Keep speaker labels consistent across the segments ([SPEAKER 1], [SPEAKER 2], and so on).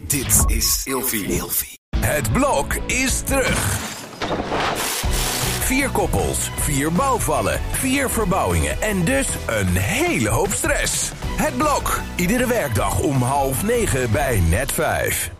[SPEAKER 1] Dit is Ilfie. Het blok is terug. Vier koppels, vier bouwvallen, vier verbouwingen en dus een hele hoop stress. Het blok, iedere werkdag om half negen bij net vijf.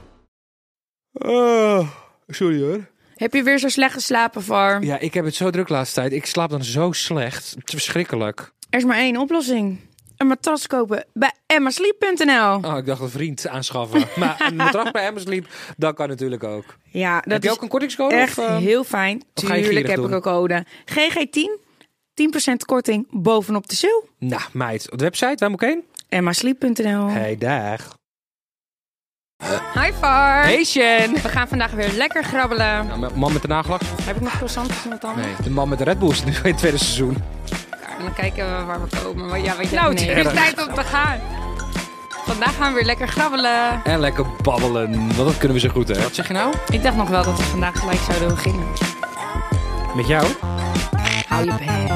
[SPEAKER 2] Ah, sorry hoor.
[SPEAKER 3] Heb je weer zo slecht geslapen, Var?
[SPEAKER 4] Ja, ik heb het zo druk de laatste tijd. Ik slaap dan zo slecht. Het is verschrikkelijk.
[SPEAKER 3] Er is maar één oplossing. Een matras kopen bij emmasleep.nl.
[SPEAKER 4] Oh, ik dacht een vriend aanschaffen. maar een matras bij Amazon liep, dat kan natuurlijk ook.
[SPEAKER 3] Ja, dat
[SPEAKER 4] heb je
[SPEAKER 3] is
[SPEAKER 4] ook een kortingscode?
[SPEAKER 3] echt
[SPEAKER 4] of, eh,
[SPEAKER 3] heel fijn.
[SPEAKER 4] of ga je
[SPEAKER 3] Tuurlijk
[SPEAKER 4] gierig
[SPEAKER 3] heb
[SPEAKER 4] doen?
[SPEAKER 3] ik een code. GG10, 10% korting bovenop de sale.
[SPEAKER 4] Nou, meid. Op de website, waar moet ik heen?
[SPEAKER 3] emmasleep.nl.
[SPEAKER 4] Hey, dag.
[SPEAKER 3] Hi, Var.
[SPEAKER 4] Hey, Shen.
[SPEAKER 3] We gaan vandaag weer lekker grabbelen.
[SPEAKER 4] Nou, mijn man met de nagelak?
[SPEAKER 3] Heb ik nog croissantjes met tanden?
[SPEAKER 4] Nee. De man met de Red Bull is nu in het tweede seizoen.
[SPEAKER 3] En dan kijken we waar we komen. Maar ja, weet je, nou,
[SPEAKER 4] het
[SPEAKER 3] het
[SPEAKER 4] is
[SPEAKER 3] is tijd om te gaan. Vandaag gaan we weer lekker grabbelen.
[SPEAKER 4] En lekker babbelen, want dat kunnen we zo goed, hè? Wat zeg je nou?
[SPEAKER 3] Ik dacht nog wel dat we vandaag gelijk zouden beginnen.
[SPEAKER 4] Met jou?
[SPEAKER 3] Hou je bek.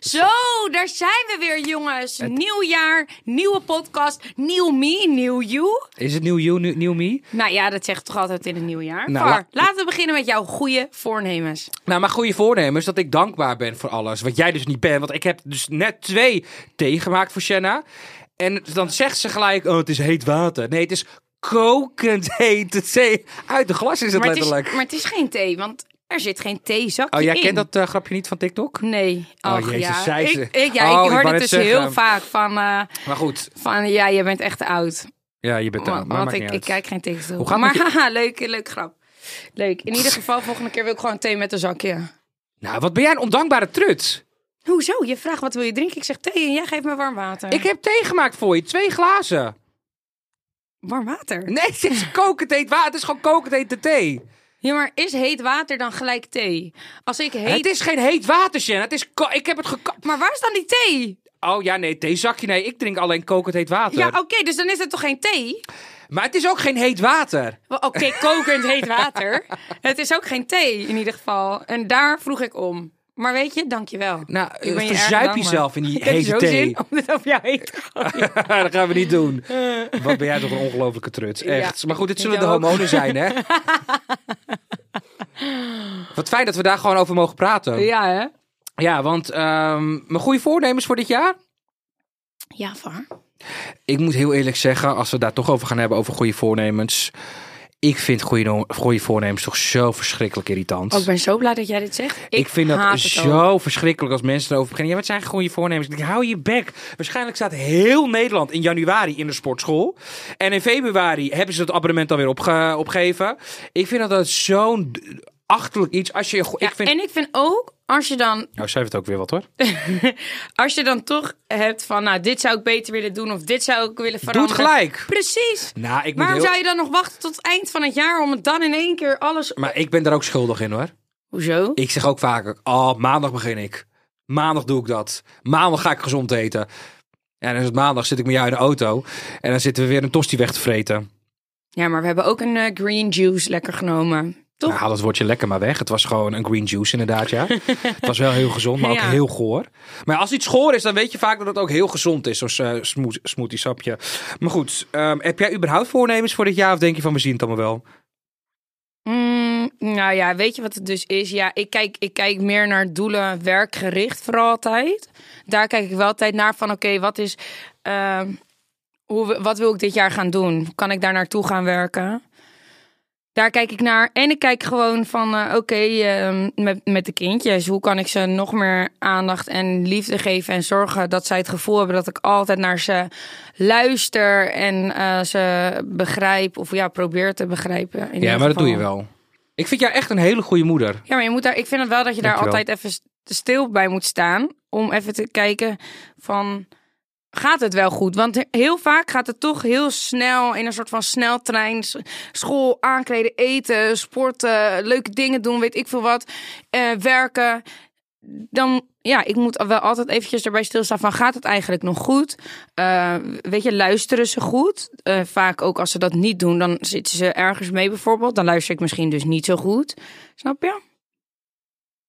[SPEAKER 3] Zo, daar zijn we weer, jongens. Nieuw jaar, nieuwe podcast, nieuw me, nieuw you.
[SPEAKER 4] Is het nieuw you, nieuw, nieuw me?
[SPEAKER 3] Nou ja, dat zegt toch altijd in het nieuwe jaar.
[SPEAKER 4] Nou,
[SPEAKER 3] Var,
[SPEAKER 4] la-
[SPEAKER 3] laten we beginnen met jouw goede voornemens.
[SPEAKER 4] Nou, mijn goede voornemen is dat ik dankbaar ben voor alles. Wat jij dus niet bent. Want ik heb dus net twee thee gemaakt voor Shanna. En dan zegt ze gelijk, oh, het is heet water. Nee, het is kokend hete thee. Uit de glas is het
[SPEAKER 3] Maar het, is,
[SPEAKER 4] letterlijk.
[SPEAKER 3] maar het is geen thee, want er zit geen theezakje
[SPEAKER 4] Oh, jij
[SPEAKER 3] in.
[SPEAKER 4] kent dat eh, grapje niet van TikTok?
[SPEAKER 3] Nee.
[SPEAKER 4] Oh,
[SPEAKER 3] Ach,
[SPEAKER 4] jezus,
[SPEAKER 3] ja.
[SPEAKER 4] zei ze.
[SPEAKER 3] Ik, ik, ja, ik
[SPEAKER 4] Oh, ik wou
[SPEAKER 3] hoor dit
[SPEAKER 4] net
[SPEAKER 3] dus
[SPEAKER 4] zeggen.
[SPEAKER 3] heel vaak van, eh,
[SPEAKER 4] Maar goed.
[SPEAKER 3] van ja, je bent echt oud.
[SPEAKER 4] Ja, je bent
[SPEAKER 3] Wa-
[SPEAKER 4] maar,
[SPEAKER 3] want
[SPEAKER 4] maakt
[SPEAKER 3] ik,
[SPEAKER 4] niet
[SPEAKER 3] ik
[SPEAKER 4] uit.
[SPEAKER 3] kijk geen tegenstoel.
[SPEAKER 4] Hoe gaat het
[SPEAKER 3] maar
[SPEAKER 4] met
[SPEAKER 3] haha, leuk, leuk grap. Leuk. In ieder geval, volgende keer wil ik gewoon thee met een zakje.
[SPEAKER 4] Nou, wat ben jij een ondankbare trut.
[SPEAKER 3] Hoezo? Je vraagt wat wil je drinken? Ik zeg thee en jij geeft me warm water.
[SPEAKER 4] Ik heb thee gemaakt voor je. Twee glazen.
[SPEAKER 3] Warm water?
[SPEAKER 4] Nee, het is kokend heet water. Het is gewoon kokend hete thee.
[SPEAKER 3] Ja, maar is heet water dan gelijk thee? Als ik heet...
[SPEAKER 4] Het is geen heet water, Shanna. Het is ko- ik heb het gekapt.
[SPEAKER 3] Maar waar is dan die thee?
[SPEAKER 4] Oh ja, nee, theezakje. Nee, ik drink alleen kokend heet water.
[SPEAKER 3] Ja, oké, dus dan is het toch geen thee?
[SPEAKER 4] Maar het is ook geen heet water.
[SPEAKER 3] Wel, Oké, kokend heet water. Het is ook geen thee in ieder geval. En daar vroeg ik om. Maar weet je, dankjewel.
[SPEAKER 4] Nou,
[SPEAKER 3] ik ben je erg
[SPEAKER 4] verzuip
[SPEAKER 3] dankbaar.
[SPEAKER 4] jezelf in die
[SPEAKER 3] Ik heb
[SPEAKER 4] hete
[SPEAKER 3] zo
[SPEAKER 4] thee.
[SPEAKER 3] zin om dit op jou heen te gooien.
[SPEAKER 4] dat gaan we niet doen. Wat ben jij toch een ongelofelijke trut. Echt.
[SPEAKER 3] Ja.
[SPEAKER 4] Maar goed, dit zullen
[SPEAKER 3] Ik
[SPEAKER 4] de
[SPEAKER 3] ook.
[SPEAKER 4] hormonen zijn, hè? Wat fijn dat we daar gewoon over mogen praten. Ja,
[SPEAKER 3] Ja, hè?
[SPEAKER 4] want ehm, mijn goede voornemens voor dit jaar?
[SPEAKER 3] Ja, Var.
[SPEAKER 4] Ik moet heel eerlijk zeggen, als we daar toch over gaan hebben, over goede voornemens. Ik vind goede, no- goede voornemens toch zo verschrikkelijk irritant.
[SPEAKER 3] Oh, ik ben zo blij dat jij dit zegt. Ik,
[SPEAKER 4] Ik, vind
[SPEAKER 3] haat
[SPEAKER 4] dat
[SPEAKER 3] het
[SPEAKER 4] zo
[SPEAKER 3] ook.
[SPEAKER 4] verschrikkelijk als mensen erover beginnen. Ja, wat zijn goede voornemens? Ik denk, hou je bek. Waarschijnlijk staat heel Nederland in januari in de sportschool. En in februari hebben ze het abonnement alweer opge opgegeven. Ik vind dat, dat zo'n d- achterlijk iets. Als je,
[SPEAKER 3] Ja,
[SPEAKER 4] ik vind...
[SPEAKER 3] En ik vind ook, als je dan
[SPEAKER 4] Nou, schrijf het ook weer wat hoor.
[SPEAKER 3] Als je dan toch hebt van, nou, dit zou ik beter willen doen of dit zou ik willen
[SPEAKER 4] Doe het
[SPEAKER 3] veranderen.
[SPEAKER 4] gelijk.
[SPEAKER 3] Precies.
[SPEAKER 4] Nou, ik moet
[SPEAKER 3] Waarom
[SPEAKER 4] heel...
[SPEAKER 3] zou je dan nog wachten tot het eind van het jaar om het dan in één keer alles...
[SPEAKER 4] Maar ik ben daar ook schuldig in hoor.
[SPEAKER 3] Hoezo?
[SPEAKER 4] Ik zeg ook vaker, oh, maandag begin ik. Maandag doe ik dat. Maandag ga ik gezond eten. En dan is het maandag zit ik met jou in de auto. En dan zitten we weer een tosti weg te vreten.
[SPEAKER 3] Ja, maar we hebben ook een eh, green juice lekker genomen. Toch?
[SPEAKER 4] Nou, haal dat woordje lekker maar weg. Het was gewoon een green juice inderdaad, ja. het was wel heel gezond, maar ook
[SPEAKER 3] Ja.
[SPEAKER 4] heel goor. Maar als iets goor is, dan weet je vaak dat het ook heel gezond is. Zo'n eh, smooth, smoothie sapje. Maar goed, ehm, heb jij überhaupt voornemens voor dit jaar? Of denk je van, we zien het allemaal wel?
[SPEAKER 3] Mm, nou ja, weet je wat het dus is? Ja, ik kijk, ik kijk meer naar doelen werkgericht voor altijd. Daar kijk ik wel altijd naar van, oké, wat is... ehm, hoe, we- wat wil ik dit jaar gaan doen? Kan ik daar naartoe gaan werken? Daar kijk ik naar. En ik kijk gewoon van, eh, oké, ehm, met, met de kindjes. Hoe kan ik ze nog meer aandacht en liefde geven? En zorgen dat zij het gevoel hebben dat ik altijd naar ze luister. En eh, ze begrijp, of ja, probeer te begrijpen. in
[SPEAKER 4] Ja,
[SPEAKER 3] ieder
[SPEAKER 4] maar dat doe je
[SPEAKER 3] geval.
[SPEAKER 4] wel. Ik vind jou echt een hele goede moeder.
[SPEAKER 3] Ja, maar je moet daar, ik vind het wel dat je daar
[SPEAKER 4] Dankjewel.
[SPEAKER 3] altijd even st- stil bij moet staan. Om even te kijken van, gaat het wel goed? Want he- heel vaak gaat het toch heel snel in een soort van sneltrein. s- School, aankleden, eten, sporten, leuke dingen doen, weet ik veel wat. eh, werken. Dan, ja, ik moet wel altijd eventjes erbij stilstaan van, gaat het eigenlijk nog goed? Eh, weet je, luisteren ze goed? Eh, vaak ook als ze dat niet doen, dan zitten ze ergens mee bijvoorbeeld. Dan luister ik misschien dus niet zo goed. Snap je?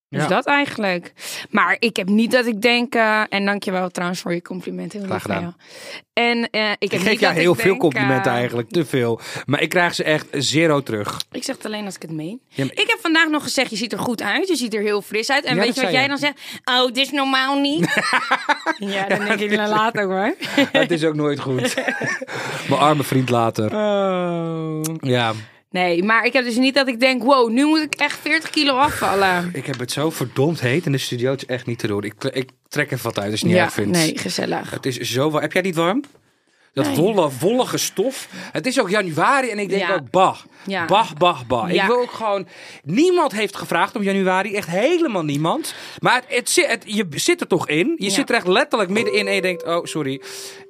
[SPEAKER 3] Dus
[SPEAKER 4] Ja.
[SPEAKER 3] dat eigenlijk. Maar ik heb niet dat ik denk... eh en dankjewel trouwens voor je compliment. Heel
[SPEAKER 4] Graag
[SPEAKER 3] lief
[SPEAKER 4] gedaan.
[SPEAKER 3] van jou. En eh, ik, heb
[SPEAKER 4] Ik
[SPEAKER 3] niet
[SPEAKER 4] geef jou
[SPEAKER 3] dat
[SPEAKER 4] heel
[SPEAKER 3] ik
[SPEAKER 4] veel
[SPEAKER 3] denk,
[SPEAKER 4] complimenten
[SPEAKER 3] eh,
[SPEAKER 4] eigenlijk, te veel. Maar ik krijg ze echt zero terug.
[SPEAKER 3] Ik zeg het alleen als ik het meen.
[SPEAKER 4] Ja, maar-
[SPEAKER 3] Ik heb vandaag nog gezegd, je ziet er goed uit. Je ziet er heel fris uit. En
[SPEAKER 4] Ja,
[SPEAKER 3] weet
[SPEAKER 4] dat
[SPEAKER 3] je wat
[SPEAKER 4] zei
[SPEAKER 3] jij
[SPEAKER 4] je.
[SPEAKER 3] dan zegt? Oh, dit is normaal niet. ja, dan denk ik, nou, laat ook hoor.
[SPEAKER 4] Het is ook nooit goed. Mijn arme vriend later.
[SPEAKER 3] Oh.
[SPEAKER 4] Ja,
[SPEAKER 3] Nee, maar ik heb dus niet dat ik denk, wow, nu moet ik echt 40 kilo afvallen.
[SPEAKER 4] ik heb het zo verdomd heet in de studio. Het is echt niet te doen. Ik, ik trek even wat uit als je het niet erg vindt.
[SPEAKER 3] nee, gezellig.
[SPEAKER 4] Het is zo warm. Heb jij het niet warm? Dat wollen, wollige stof. Het is ook januari en ik denk
[SPEAKER 3] Ja.
[SPEAKER 4] ook bah.
[SPEAKER 3] Ja.
[SPEAKER 4] Bah, bah, bah.
[SPEAKER 3] Ja.
[SPEAKER 4] Ik wil ook gewoon... Niemand heeft gevraagd om januari. Echt helemaal niemand. Maar het, zit- het- je zit er toch in. Je
[SPEAKER 3] Ja.
[SPEAKER 4] zit er echt letterlijk middenin en je denkt... Oh, sorry.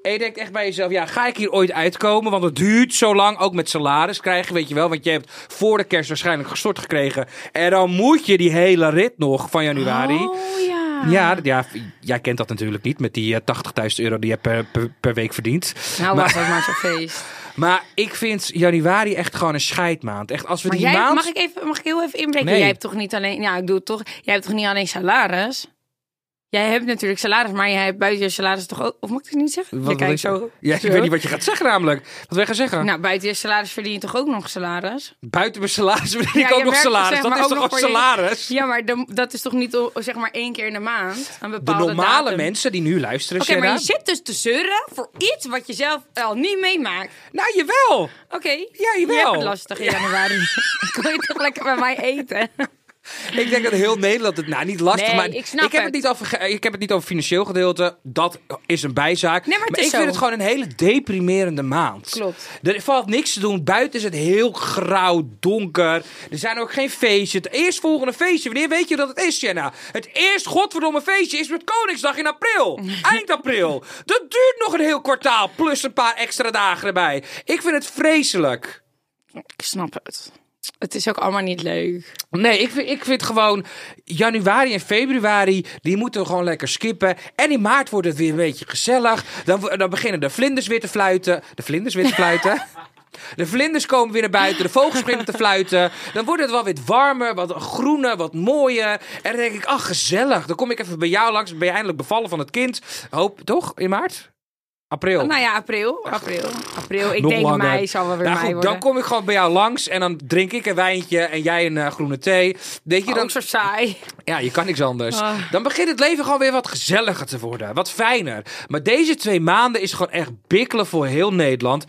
[SPEAKER 4] En je denkt echt bij jezelf... Ja, ga ik hier ooit uitkomen? Want het duurt zo lang. Ook met salaris krijgen, weet je wel. Want je hebt voor de kerst waarschijnlijk gestort gekregen. En dan moet je die hele rit nog van januari...
[SPEAKER 3] Oh ja.
[SPEAKER 4] Ja, d- ja, v- jij kent dat natuurlijk niet met die eh, 80.000 euro die je per, per, per week verdient.
[SPEAKER 3] Nou was
[SPEAKER 4] maar,
[SPEAKER 3] dat maar zo'n feest.
[SPEAKER 4] maar ik vind januari echt gewoon een scheidmaand. Echt, als we
[SPEAKER 3] Maar
[SPEAKER 4] die
[SPEAKER 3] jij,
[SPEAKER 4] maand...
[SPEAKER 3] mag, ik even, mag ik heel even inbreken?
[SPEAKER 4] Nee.
[SPEAKER 3] Jij hebt toch niet alleen... Ja, ik doe het toch. Jij hebt toch niet alleen salaris? Jij hebt natuurlijk salaris, maar jij hebt buiten je salaris toch ook... Of moet ik het niet zeggen?
[SPEAKER 4] Wat
[SPEAKER 3] je
[SPEAKER 4] wil
[SPEAKER 3] kijkt
[SPEAKER 4] ik-
[SPEAKER 3] zo...
[SPEAKER 4] Ja,
[SPEAKER 3] zo.
[SPEAKER 4] ik weet niet wat je gaat zeggen namelijk. Wat wil je gaan zeggen?
[SPEAKER 3] Nou, buiten je salaris verdien je toch ook nog salaris?
[SPEAKER 4] Buiten mijn salaris verdien
[SPEAKER 3] Ja,
[SPEAKER 4] ik ook
[SPEAKER 3] je
[SPEAKER 4] nog
[SPEAKER 3] werkt
[SPEAKER 4] salaris.
[SPEAKER 3] zeg
[SPEAKER 4] dat
[SPEAKER 3] maar
[SPEAKER 4] is
[SPEAKER 3] ook
[SPEAKER 4] toch
[SPEAKER 3] nog
[SPEAKER 4] ook
[SPEAKER 3] voor je-
[SPEAKER 4] salaris?
[SPEAKER 3] Ja, maar dan- dat is toch niet oh, zeg maar één keer in de maand? Een
[SPEAKER 4] De
[SPEAKER 3] bepaalde
[SPEAKER 4] normale
[SPEAKER 3] datum.
[SPEAKER 4] mensen die nu luisteren,
[SPEAKER 3] Oké, maar
[SPEAKER 4] Shanna-
[SPEAKER 3] je zit dus te zeuren voor iets wat je zelf al niet meemaakt.
[SPEAKER 4] Nou, jawel!
[SPEAKER 3] Oké.
[SPEAKER 4] Ja,
[SPEAKER 3] Je
[SPEAKER 4] jawel.
[SPEAKER 3] hebt het lastig in januari. Kon je toch lekker bij mij eten?
[SPEAKER 4] Ik denk dat heel Nederland het... Nou, niet lastig,
[SPEAKER 3] Nee,
[SPEAKER 4] maar...
[SPEAKER 3] ik snap
[SPEAKER 4] heb
[SPEAKER 3] het.
[SPEAKER 4] het. niet over, ge- ik heb het niet over financieel gedeelte. Dat is een bijzaak.
[SPEAKER 3] Nee, maar het
[SPEAKER 4] maar
[SPEAKER 3] is
[SPEAKER 4] ik vind
[SPEAKER 3] zo.
[SPEAKER 4] het gewoon een hele deprimerende maand.
[SPEAKER 3] Klopt.
[SPEAKER 4] Er valt niks te doen. Buiten is het heel grauw, donker. Er zijn ook geen feestjes. Het eerstvolgende feestje, wanneer weet je dat het is, Jenna? Het eerst godverdomme feestje is met Koningsdag in april. Eind april. Dat duurt nog een heel kwartaal. Plus een paar extra dagen erbij. Ik vind het vreselijk.
[SPEAKER 3] Ik snap het. Het is ook allemaal niet leuk.
[SPEAKER 4] Nee, ik vind, ik vind gewoon januari en februari, die moeten we gewoon lekker skippen. En in maart wordt het weer een beetje gezellig. Dan, wo- dan beginnen de vlinders weer te fluiten. De vlinders weer te fluiten. De vlinders komen weer naar buiten, de vogels beginnen te fluiten. Dan wordt het wel weer warmer, wat groener, wat mooier. En dan denk ik, ach gezellig. Dan kom ik even bij jou langs, ben je eindelijk bevallen van het kind. Hoop, toch? In maart? April.
[SPEAKER 3] Nou ja, april. April. April. Ik
[SPEAKER 4] Oh. Nog
[SPEAKER 3] denk
[SPEAKER 4] langer.
[SPEAKER 3] mei zal wel weer
[SPEAKER 4] Nou
[SPEAKER 3] mei
[SPEAKER 4] goed,
[SPEAKER 3] worden.
[SPEAKER 4] Dan kom ik gewoon bij jou langs en dan drink ik een wijntje en jij een eh, groene thee. Weet je, dan,
[SPEAKER 3] Ook Oh, zo saai.
[SPEAKER 4] ja, je kan niks anders.
[SPEAKER 3] Ah.
[SPEAKER 4] Dan begint het leven gewoon weer wat gezelliger te worden. Wat fijner. Maar deze twee maanden is gewoon echt bikkelen voor heel Nederland.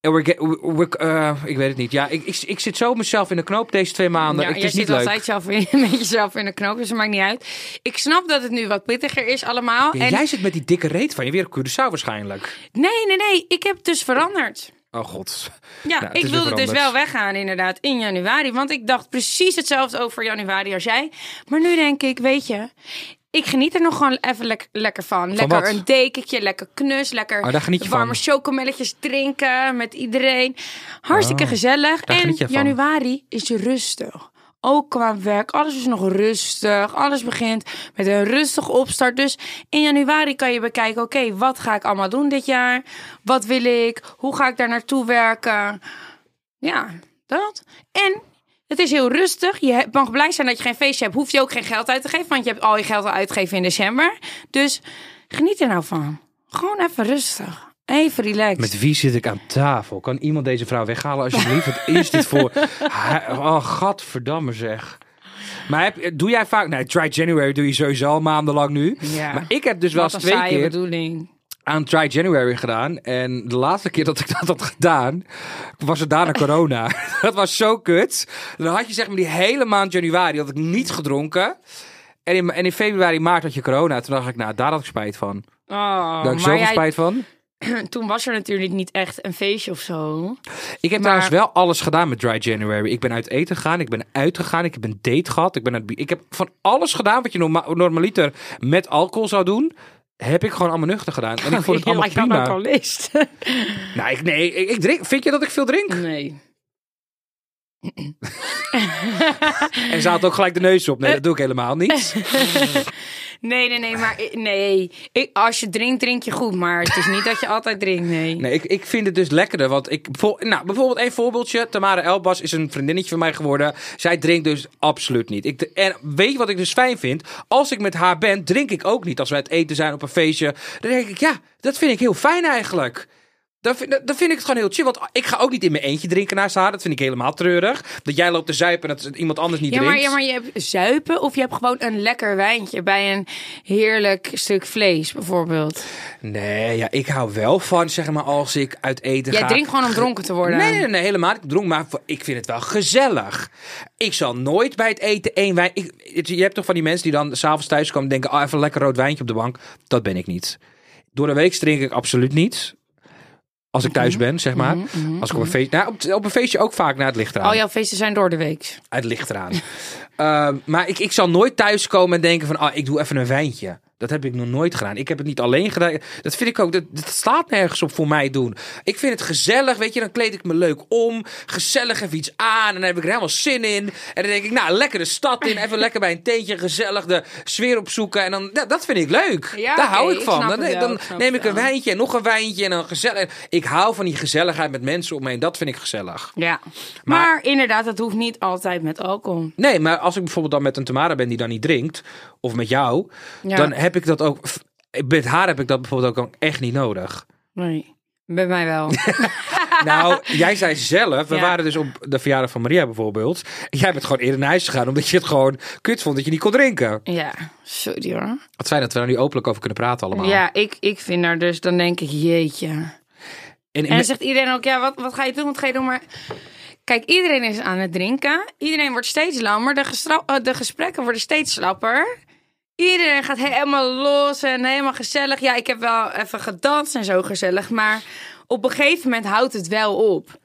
[SPEAKER 4] En we get- we- we- eh, ik weet het niet. Ja, ik, ik, ik zit zo mezelf in de knoop deze twee maanden.
[SPEAKER 3] Ja,
[SPEAKER 4] het
[SPEAKER 3] jij
[SPEAKER 4] is dus niet
[SPEAKER 3] zit
[SPEAKER 4] leuk.
[SPEAKER 3] altijd zelf in, met jezelf in de knoop, dus het maakt niet uit. Ik snap dat het nu wat pittiger is allemaal.
[SPEAKER 4] Ja,
[SPEAKER 3] en
[SPEAKER 4] Jij zit met die dikke reet van je weer op Curaçao waarschijnlijk.
[SPEAKER 3] Nee, nee, nee. Ik heb dus veranderd.
[SPEAKER 4] Oh god.
[SPEAKER 3] Ja,
[SPEAKER 4] Nou, het is
[SPEAKER 3] ik
[SPEAKER 4] weer
[SPEAKER 3] wilde dus
[SPEAKER 4] veranderd.
[SPEAKER 3] wel weggaan inderdaad in januari. Want ik dacht precies hetzelfde over januari als jij. Maar nu denk ik, weet je... Ik geniet er nog gewoon even lek- lekker van. Lekker
[SPEAKER 4] wat?
[SPEAKER 3] een dekentje, lekker knus, lekker
[SPEAKER 4] Oh, daar geniet je
[SPEAKER 3] warme
[SPEAKER 4] van.
[SPEAKER 3] chocomelletjes drinken met iedereen. Hartstikke
[SPEAKER 4] Oh,
[SPEAKER 3] gezellig.
[SPEAKER 4] daar
[SPEAKER 3] En
[SPEAKER 4] geniet je van.
[SPEAKER 3] januari is rustig. Ook qua werk, alles is nog rustig. Alles begint met een rustige opstart. Dus in januari kan je bekijken: oké, wat ga ik allemaal doen dit jaar? Wat wil ik? Hoe ga ik daar naartoe werken? Ja, dat. En het is heel rustig. Je he- mag blij zijn dat je geen feestje hebt. Hoef je ook geen geld uit te geven, want je hebt al je geld al uitgegeven in december. Dus geniet er nou van. Gewoon even rustig. Even relaxed.
[SPEAKER 4] Met wie zit ik aan tafel? Kan iemand deze vrouw weghalen alsjeblieft? Wat is dit voor... Ha- Oh, gadverdamme zeg. Maar heb, doe jij vaak... Nee, Try January doe je sowieso al maandenlang nu.
[SPEAKER 3] Ja.
[SPEAKER 4] Maar ik heb dus wel
[SPEAKER 3] Wat
[SPEAKER 4] eens
[SPEAKER 3] een
[SPEAKER 4] twee
[SPEAKER 3] saaie
[SPEAKER 4] keer
[SPEAKER 3] bedoeling.
[SPEAKER 4] aan Try January gedaan. En de laatste keer dat ik dat had gedaan, was het daarna corona. dat was zo kut. Dan had je zeg maar die hele maand januari, had ik niet gedronken. En in, en in februari, maart had je corona. Toen dacht ik, nou, daar had ik spijt van.
[SPEAKER 3] Oh,
[SPEAKER 4] daar had ik
[SPEAKER 3] maar
[SPEAKER 4] zoveel
[SPEAKER 3] jij-
[SPEAKER 4] spijt van.
[SPEAKER 3] toen was er natuurlijk niet echt een feestje of zo.
[SPEAKER 4] Ik heb
[SPEAKER 3] Maar-
[SPEAKER 4] trouwens wel alles gedaan met Dry January. Ik ben uit eten gegaan, ik ben uitgegaan, ik heb een date gehad. Ik, ben uit, ik heb van alles gedaan wat je norma- normaliter met alcohol zou doen. Heb ik gewoon allemaal nuchter gedaan. En ik vond het
[SPEAKER 3] Heel
[SPEAKER 4] allemaal
[SPEAKER 3] erg aan
[SPEAKER 4] prima.
[SPEAKER 3] alcoholist.
[SPEAKER 4] Nou, ik, nee, ik, ik drink. Vind je dat ik veel drink?
[SPEAKER 3] Nee.
[SPEAKER 4] En ze had ook gelijk de neus op. Nee, dat doe ik helemaal niet.
[SPEAKER 3] Nee, nee, nee, maar ik- nee. Ik, als je drinkt, drink je goed. Maar het is niet dat je altijd drinkt, nee.
[SPEAKER 4] Nee, ik, ik vind het dus lekkerder. Want ik, bijvo- nou, bijvoorbeeld één voorbeeldje. Tamara Elbas is een vriendinnetje van mij geworden. Zij drinkt dus absoluut niet. Ik, en weet je wat ik dus fijn vind? Als ik met haar ben, drink ik ook niet. Als wij het eten zijn op een feestje. Dan denk ik, ja, dat vind ik heel fijn eigenlijk. Dan vind, dan vind ik het gewoon heel chill. Want ik ga ook niet in mijn eentje drinken naast haar. Dat vind ik helemaal treurig. Dat jij loopt te zuipen en dat iemand anders niet
[SPEAKER 3] Ja maar,
[SPEAKER 4] drinkt.
[SPEAKER 3] ja, maar je hebt zuipen of je hebt gewoon een lekker wijntje bij een heerlijk stuk vlees, bijvoorbeeld.
[SPEAKER 4] Nee, ja, ik hou wel van, zeg maar, als ik uit eten
[SPEAKER 3] Jij
[SPEAKER 4] ga.
[SPEAKER 3] drinkt gewoon om dronken te worden.
[SPEAKER 4] Nee, nee, nee, helemaal niet. Ik dronk, maar voor- ik vind het wel gezellig. Ik zal nooit bij het eten één wijn... Ik, het- je hebt toch van die mensen die dan s'avonds thuis komen en denken... ah, even lekker rood wijntje op de bank. Dat ben ik niet. Door de week drink ik absoluut niet. Als ik thuis ben, zeg maar. Als ik op een feestje... Nou, op, op een feestje ook vaak naar het licht eraan.
[SPEAKER 3] Al jouw feesten zijn door de week.
[SPEAKER 4] Ah, Het licht eraan. Ehm, maar ik, ik zal nooit thuiskomen en denken van... ah, ik doe even een wijntje. Dat heb ik nog nooit gedaan. Ik heb het niet alleen gedaan. Dat vind ik ook... Dat, dat staat nergens op voor mij doen. Ik vind het gezellig, weet je. Dan kleed ik me leuk om. Gezellig even iets aan. En dan heb ik er helemaal zin in. En dan denk ik, nou, lekker de stad in. Even lekker bij een teentje gezellig de sfeer opzoeken. En dan, ja, dat vind ik leuk.
[SPEAKER 3] Ja,
[SPEAKER 4] Daar hou
[SPEAKER 3] oké,
[SPEAKER 4] ik
[SPEAKER 3] ik
[SPEAKER 4] van.
[SPEAKER 3] snap
[SPEAKER 4] dan
[SPEAKER 3] het wel,
[SPEAKER 4] dan
[SPEAKER 3] ik snap
[SPEAKER 4] neem
[SPEAKER 3] het
[SPEAKER 4] ik een
[SPEAKER 3] wel.
[SPEAKER 4] wijntje en nog een wijntje. En dan gezellig. Ik hou van die gezelligheid met mensen om me heen. Dat vind ik gezellig.
[SPEAKER 3] Ja. Maar, inderdaad, dat hoeft niet altijd met alcohol.
[SPEAKER 4] Nee, maar als ik bijvoorbeeld dan met een Tamara ben die dan niet drinkt, of met jou,
[SPEAKER 3] Ja.
[SPEAKER 4] dan heb ik dat ook. f- Met haar heb ik dat bijvoorbeeld ook echt niet nodig.
[SPEAKER 3] Nee. Bij mij wel.
[SPEAKER 4] Nou, jij zei zelf, we
[SPEAKER 3] Ja.
[SPEAKER 4] waren dus op de verjaardag van Maria bijvoorbeeld. Jij bent gewoon eerder naar huis gegaan omdat je het gewoon kut vond dat je niet kon drinken.
[SPEAKER 3] ja, sorry hoor.
[SPEAKER 4] Wat fijn dat we daar nu openlijk over kunnen praten allemaal.
[SPEAKER 3] Ja, ik, ik vind daar dus, dan denk ik, jeetje.
[SPEAKER 4] En,
[SPEAKER 3] En dan zegt iedereen ook, ja, wat, wat ga je doen? Wat ga je doen? Maar kijk, iedereen is aan het drinken. Iedereen wordt steeds lammer. De, gestra- eh, de gesprekken worden steeds slapper. Iedereen gaat helemaal los en helemaal gezellig. Ja, ik heb wel even gedanst en zo gezellig. Maar op een gegeven moment houdt het wel op.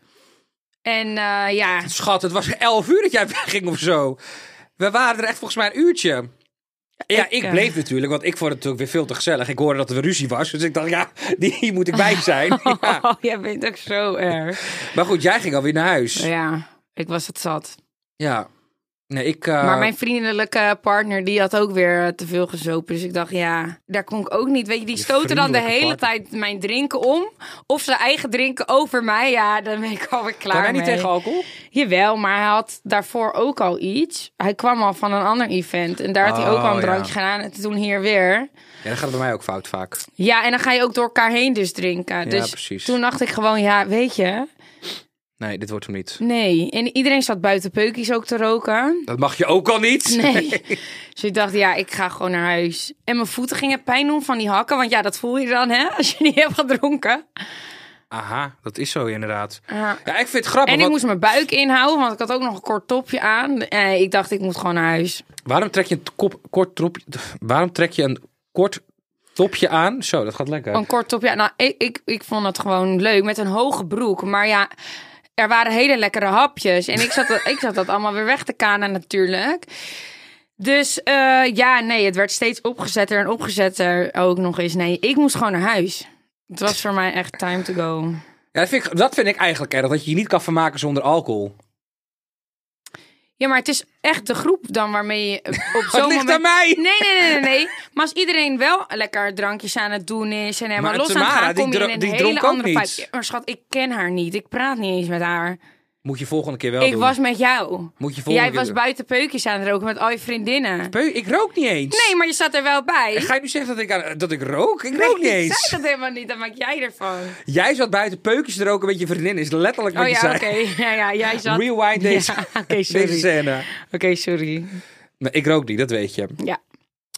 [SPEAKER 3] En eh, ja,
[SPEAKER 4] Schat, het was elf uur dat jij wegging of zo. We waren er echt volgens mij een uurtje. Ja,
[SPEAKER 3] ik,
[SPEAKER 4] ik
[SPEAKER 3] eh,
[SPEAKER 4] bleef natuurlijk, want ik vond het natuurlijk weer veel te gezellig. Ik hoorde dat er weer ruzie was, dus ik dacht, ja, die moet ik bij zijn. Ja.
[SPEAKER 3] oh, jij bent ook zo erg.
[SPEAKER 4] Maar goed, jij ging alweer naar huis. Ja.
[SPEAKER 3] Ja, ik was het zat.
[SPEAKER 4] Nee, ik... eh,
[SPEAKER 3] Maar mijn vriendelijke partner, die had ook weer eh, te veel gezopen. Dus ik dacht, ja, daar kon ik ook niet. Weet je, die stoten dan de
[SPEAKER 4] vriendelijke
[SPEAKER 3] hele
[SPEAKER 4] partner.
[SPEAKER 3] tijd mijn drinken om. Of zijn eigen drinken over mij. Ja, dan ben ik alweer klaar
[SPEAKER 4] Kan hij niet
[SPEAKER 3] mee.
[SPEAKER 4] tegen alcohol?
[SPEAKER 3] Jawel, maar hij had daarvoor ook al iets. Hij kwam al van een ander event. En daar had hij ook
[SPEAKER 4] Oh,
[SPEAKER 3] al een
[SPEAKER 4] ja.
[SPEAKER 3] drankje gedaan. En toen hier weer.
[SPEAKER 4] Ja, dat gaat bij mij ook fout vaak.
[SPEAKER 3] Ja, en dan ga je ook door elkaar heen dus drinken. dus
[SPEAKER 4] precies.
[SPEAKER 3] toen dacht ik gewoon, ja, weet je.
[SPEAKER 4] Nee, dit wordt hem niet.
[SPEAKER 3] Nee. En iedereen zat buiten peukies ook te roken.
[SPEAKER 4] Dat mag je ook al niet.
[SPEAKER 3] Nee. Dus ik dacht, ja, ik ga gewoon naar huis. En mijn voeten gingen pijn doen van die hakken. Want ja, dat voel je dan, hè, als je niet hebt gedronken.
[SPEAKER 4] Aha, dat is zo inderdaad.
[SPEAKER 3] Ja.
[SPEAKER 4] Ja, ik vind het grappig.
[SPEAKER 3] En ik
[SPEAKER 4] want
[SPEAKER 3] moest mijn buik inhouden, want ik had ook nog een kort topje aan. Eh, ik dacht, ik moet gewoon naar huis.
[SPEAKER 4] Waarom trek je een kop, kort tropje... Waarom trek je een kort topje aan? Zo, dat gaat lekker.
[SPEAKER 3] Een kort topje. aan. Nou, ik, ik, ik vond het gewoon leuk met een hoge broek. Maar ja, er waren hele lekkere hapjes. En ik zat, dat- ik zat dat allemaal weer weg te kanen natuurlijk. Dus eh, ja, nee, het werd steeds opgezetter en opgezetter ook nog eens. Nee, ik moest gewoon naar huis. Het was voor mij echt time to go.
[SPEAKER 4] Ja, dat, vind ik, dat vind ik eigenlijk erg, dat je je niet kan vermaken zonder alcohol.
[SPEAKER 3] Ja, maar het is echt de groep dan waarmee je op zo'n
[SPEAKER 4] Het ligt
[SPEAKER 3] moment...
[SPEAKER 4] aan mij!
[SPEAKER 3] Nee, nee, nee, nee, nee. Maar als iedereen wel lekker drankjes aan het doen is en helemaal
[SPEAKER 4] Maar
[SPEAKER 3] los aan het
[SPEAKER 4] Tamara,
[SPEAKER 3] gaan,
[SPEAKER 4] die
[SPEAKER 3] kom je in
[SPEAKER 4] dro-
[SPEAKER 3] een
[SPEAKER 4] die
[SPEAKER 3] hele
[SPEAKER 4] dronk ook
[SPEAKER 3] andere
[SPEAKER 4] niet.
[SPEAKER 3] vibe. Ja, Maar schat, ik ken haar niet. Ik praat niet eens met haar.
[SPEAKER 4] Moet je volgende keer wel
[SPEAKER 3] ik
[SPEAKER 4] doen.
[SPEAKER 3] was met jou.
[SPEAKER 4] Moet je volgende
[SPEAKER 3] Jij was
[SPEAKER 4] keer...
[SPEAKER 3] buiten peukjes aan het roken met al je vriendinnen.
[SPEAKER 4] Peu, ik rook niet eens.
[SPEAKER 3] Nee, maar je zat er wel bij.
[SPEAKER 4] Ga je nu zeggen dat ik, aan- dat ik rook? Ik rook niet
[SPEAKER 3] Nee, Ik
[SPEAKER 4] eens.
[SPEAKER 3] zei dat helemaal niet. Dan maak jij ervan.
[SPEAKER 4] Jij zat buiten peukjes te roken met je vriendin. Is letterlijk wat
[SPEAKER 3] Oh
[SPEAKER 4] je
[SPEAKER 3] ja,
[SPEAKER 4] zei.
[SPEAKER 3] oké. Ja, ja, jij zat...
[SPEAKER 4] Rewind deze,
[SPEAKER 3] Ja, oké,
[SPEAKER 4] deze
[SPEAKER 3] sorry.
[SPEAKER 4] scène.
[SPEAKER 3] Oké, sorry.
[SPEAKER 4] Nee, ik rook niet, dat weet je.
[SPEAKER 3] Ja.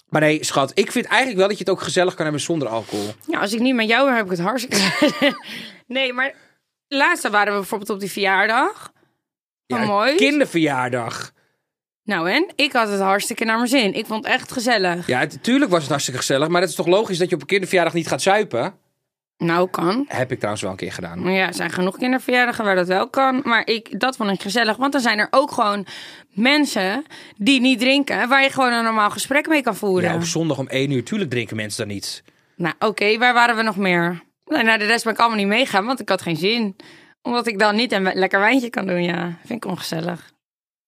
[SPEAKER 4] Maar nee, schat, ik vind eigenlijk wel dat je het ook gezellig kan hebben zonder alcohol.
[SPEAKER 3] Ja, Nou, als ik niet met jou ben, heb ik het hartstikke. nee, maar laatst waren we bijvoorbeeld op die verjaardag.
[SPEAKER 4] Ja,
[SPEAKER 3] Ja, mooi.
[SPEAKER 4] Kinderverjaardag.
[SPEAKER 3] Nou en? Ik had het hartstikke naar mijn zin. Ik vond het echt gezellig.
[SPEAKER 4] Ja, het- tuurlijk was het hartstikke gezellig. Maar het is toch logisch dat je op een kinderverjaardag niet gaat zuipen?
[SPEAKER 3] Nou, kan.
[SPEAKER 4] Heb ik trouwens wel een keer gedaan.
[SPEAKER 3] Maar ja, er zijn genoeg kinderverjaardagen waar dat wel kan. Maar ik, dat vond ik gezellig. Want dan zijn er ook gewoon mensen die niet drinken. Waar je gewoon een normaal gesprek mee kan voeren.
[SPEAKER 4] Ja, op zondag om 1 uur. Tuurlijk drinken mensen dan niet.
[SPEAKER 3] Nou, oké, waar waren we nog meer? Nee, naar de rest ben ik allemaal niet meegaan, want ik had geen zin. Omdat ik dan niet een we- lekker wijntje kan doen, ja. Vind ik ongezellig.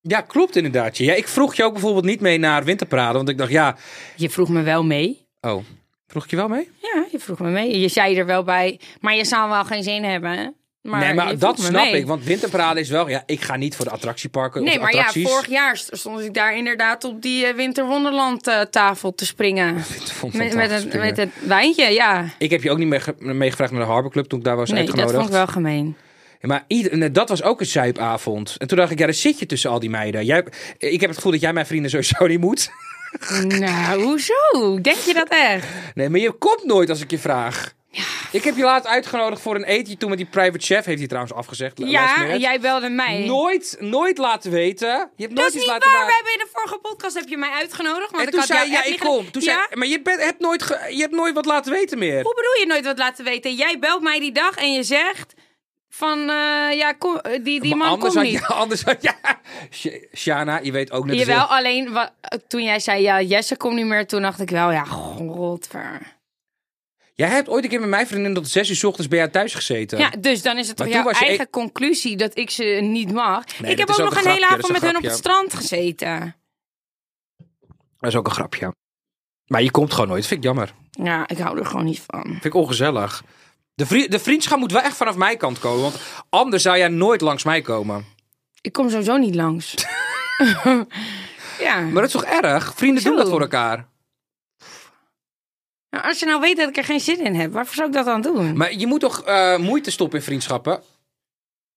[SPEAKER 4] Ja, klopt inderdaad. Ja, ik vroeg je ook bijvoorbeeld niet mee naar Winterpraden. Want ik dacht, ja...
[SPEAKER 3] Je vroeg me wel mee.
[SPEAKER 4] Oh, vroeg ik je wel mee?
[SPEAKER 3] Ja, je vroeg me mee. Je zei er wel bij, maar je zou wel geen zin hebben. hè? Maar
[SPEAKER 4] nee,
[SPEAKER 3] je
[SPEAKER 4] maar
[SPEAKER 3] vroeg
[SPEAKER 4] dat
[SPEAKER 3] me
[SPEAKER 4] snap
[SPEAKER 3] mee.
[SPEAKER 4] ik. Want Winterpraden is wel... Ja, ik ga niet voor de attractieparken of
[SPEAKER 3] Nee,
[SPEAKER 4] de
[SPEAKER 3] maar ja,
[SPEAKER 4] attracties.
[SPEAKER 3] vorig jaar st- stond ik daar inderdaad op die eh, Winter Wonderland eh, tafel te springen.
[SPEAKER 4] Ik vond het
[SPEAKER 3] Met, met,
[SPEAKER 4] fantastisch
[SPEAKER 3] een,
[SPEAKER 4] springen.
[SPEAKER 3] met een wijntje, ja.
[SPEAKER 4] Ik heb je ook niet meege- meegevraagd naar de Harbor Club toen ik daar was
[SPEAKER 3] Nee, dat
[SPEAKER 4] uitgenodigd.
[SPEAKER 3] vond ik wel gemeen.
[SPEAKER 4] Ja, maar ieder, nee, dat was ook een zuipavond. En toen dacht ik, ja, daar zit je tussen al die meiden. Jij, ik heb het gevoel dat jij mijn vrienden sowieso niet moet.
[SPEAKER 3] nou, hoezo? Denk je dat echt?
[SPEAKER 4] Nee, maar je komt nooit als ik je vraag. Ik heb je laatst uitgenodigd voor een eetje toen met die private chef. Heeft hij trouwens afgezegd. la- last
[SPEAKER 3] Ja,
[SPEAKER 4] minute.
[SPEAKER 3] en jij belde mij.
[SPEAKER 4] Nooit, nooit laten weten. Je hebt nooit
[SPEAKER 3] dat is
[SPEAKER 4] iets
[SPEAKER 3] niet
[SPEAKER 4] laten
[SPEAKER 3] waar. We
[SPEAKER 4] weten.
[SPEAKER 3] hebben in de vorige podcast heb je mij uitgenodigd.
[SPEAKER 4] En
[SPEAKER 3] Want ik
[SPEAKER 4] toen
[SPEAKER 3] had
[SPEAKER 4] zei
[SPEAKER 3] jou
[SPEAKER 4] jij,
[SPEAKER 3] echt
[SPEAKER 4] ik
[SPEAKER 3] niet
[SPEAKER 4] kom.
[SPEAKER 3] ge-
[SPEAKER 4] Toen
[SPEAKER 3] Ja?
[SPEAKER 4] zei, maar je, bent, hebt nooit ge- je hebt nooit wat laten weten meer.
[SPEAKER 3] Hoe bedoel je nooit wat laten weten? Jij belt mij die dag en je zegt van, eh, ja, kom, eh, die, die
[SPEAKER 4] Maar
[SPEAKER 3] man
[SPEAKER 4] anders
[SPEAKER 3] komt
[SPEAKER 4] had
[SPEAKER 3] niet.
[SPEAKER 4] je, anders had je... Sh- Shana, je weet ook net als
[SPEAKER 3] Jawel,
[SPEAKER 4] ik.
[SPEAKER 3] alleen wa- toen jij zei, ja, Jesse komt niet meer, toen dacht ik wel, ja, godver.
[SPEAKER 4] Jij hebt ooit een keer met mijn vriendin tot zes uur 's ochtends bij jou thuis gezeten.
[SPEAKER 3] Ja, dus dan is het
[SPEAKER 4] Maar toen
[SPEAKER 3] toch jouw
[SPEAKER 4] was je e-
[SPEAKER 3] eigen conclusie dat ik ze niet mag.
[SPEAKER 4] dat
[SPEAKER 3] ik heb
[SPEAKER 4] is
[SPEAKER 3] ook
[SPEAKER 4] ook
[SPEAKER 3] nog
[SPEAKER 4] een
[SPEAKER 3] een hele
[SPEAKER 4] grapje, dat is
[SPEAKER 3] avond
[SPEAKER 4] een
[SPEAKER 3] met hun op het
[SPEAKER 4] grapje.
[SPEAKER 3] strand gezeten.
[SPEAKER 4] Dat is ook een grapje. Maar je komt gewoon nooit. Dat vind ik jammer.
[SPEAKER 3] Ja, ik hou er gewoon niet van.
[SPEAKER 4] Vind ik ongezellig. De, vri- de vriendschap moet wel echt vanaf mijn kant komen. Want anders zou jij nooit langs mij komen.
[SPEAKER 3] Ik kom sowieso niet langs. ja.
[SPEAKER 4] Maar dat is toch erg? Vrienden doen
[SPEAKER 3] Zo.
[SPEAKER 4] dat voor elkaar.
[SPEAKER 3] Nou, als je nou weet dat ik er geen zin in heb, waarvoor zou ik dat dan doen? Maar,
[SPEAKER 4] Maar je moet toch eh, moeite stoppen in vriendschappen?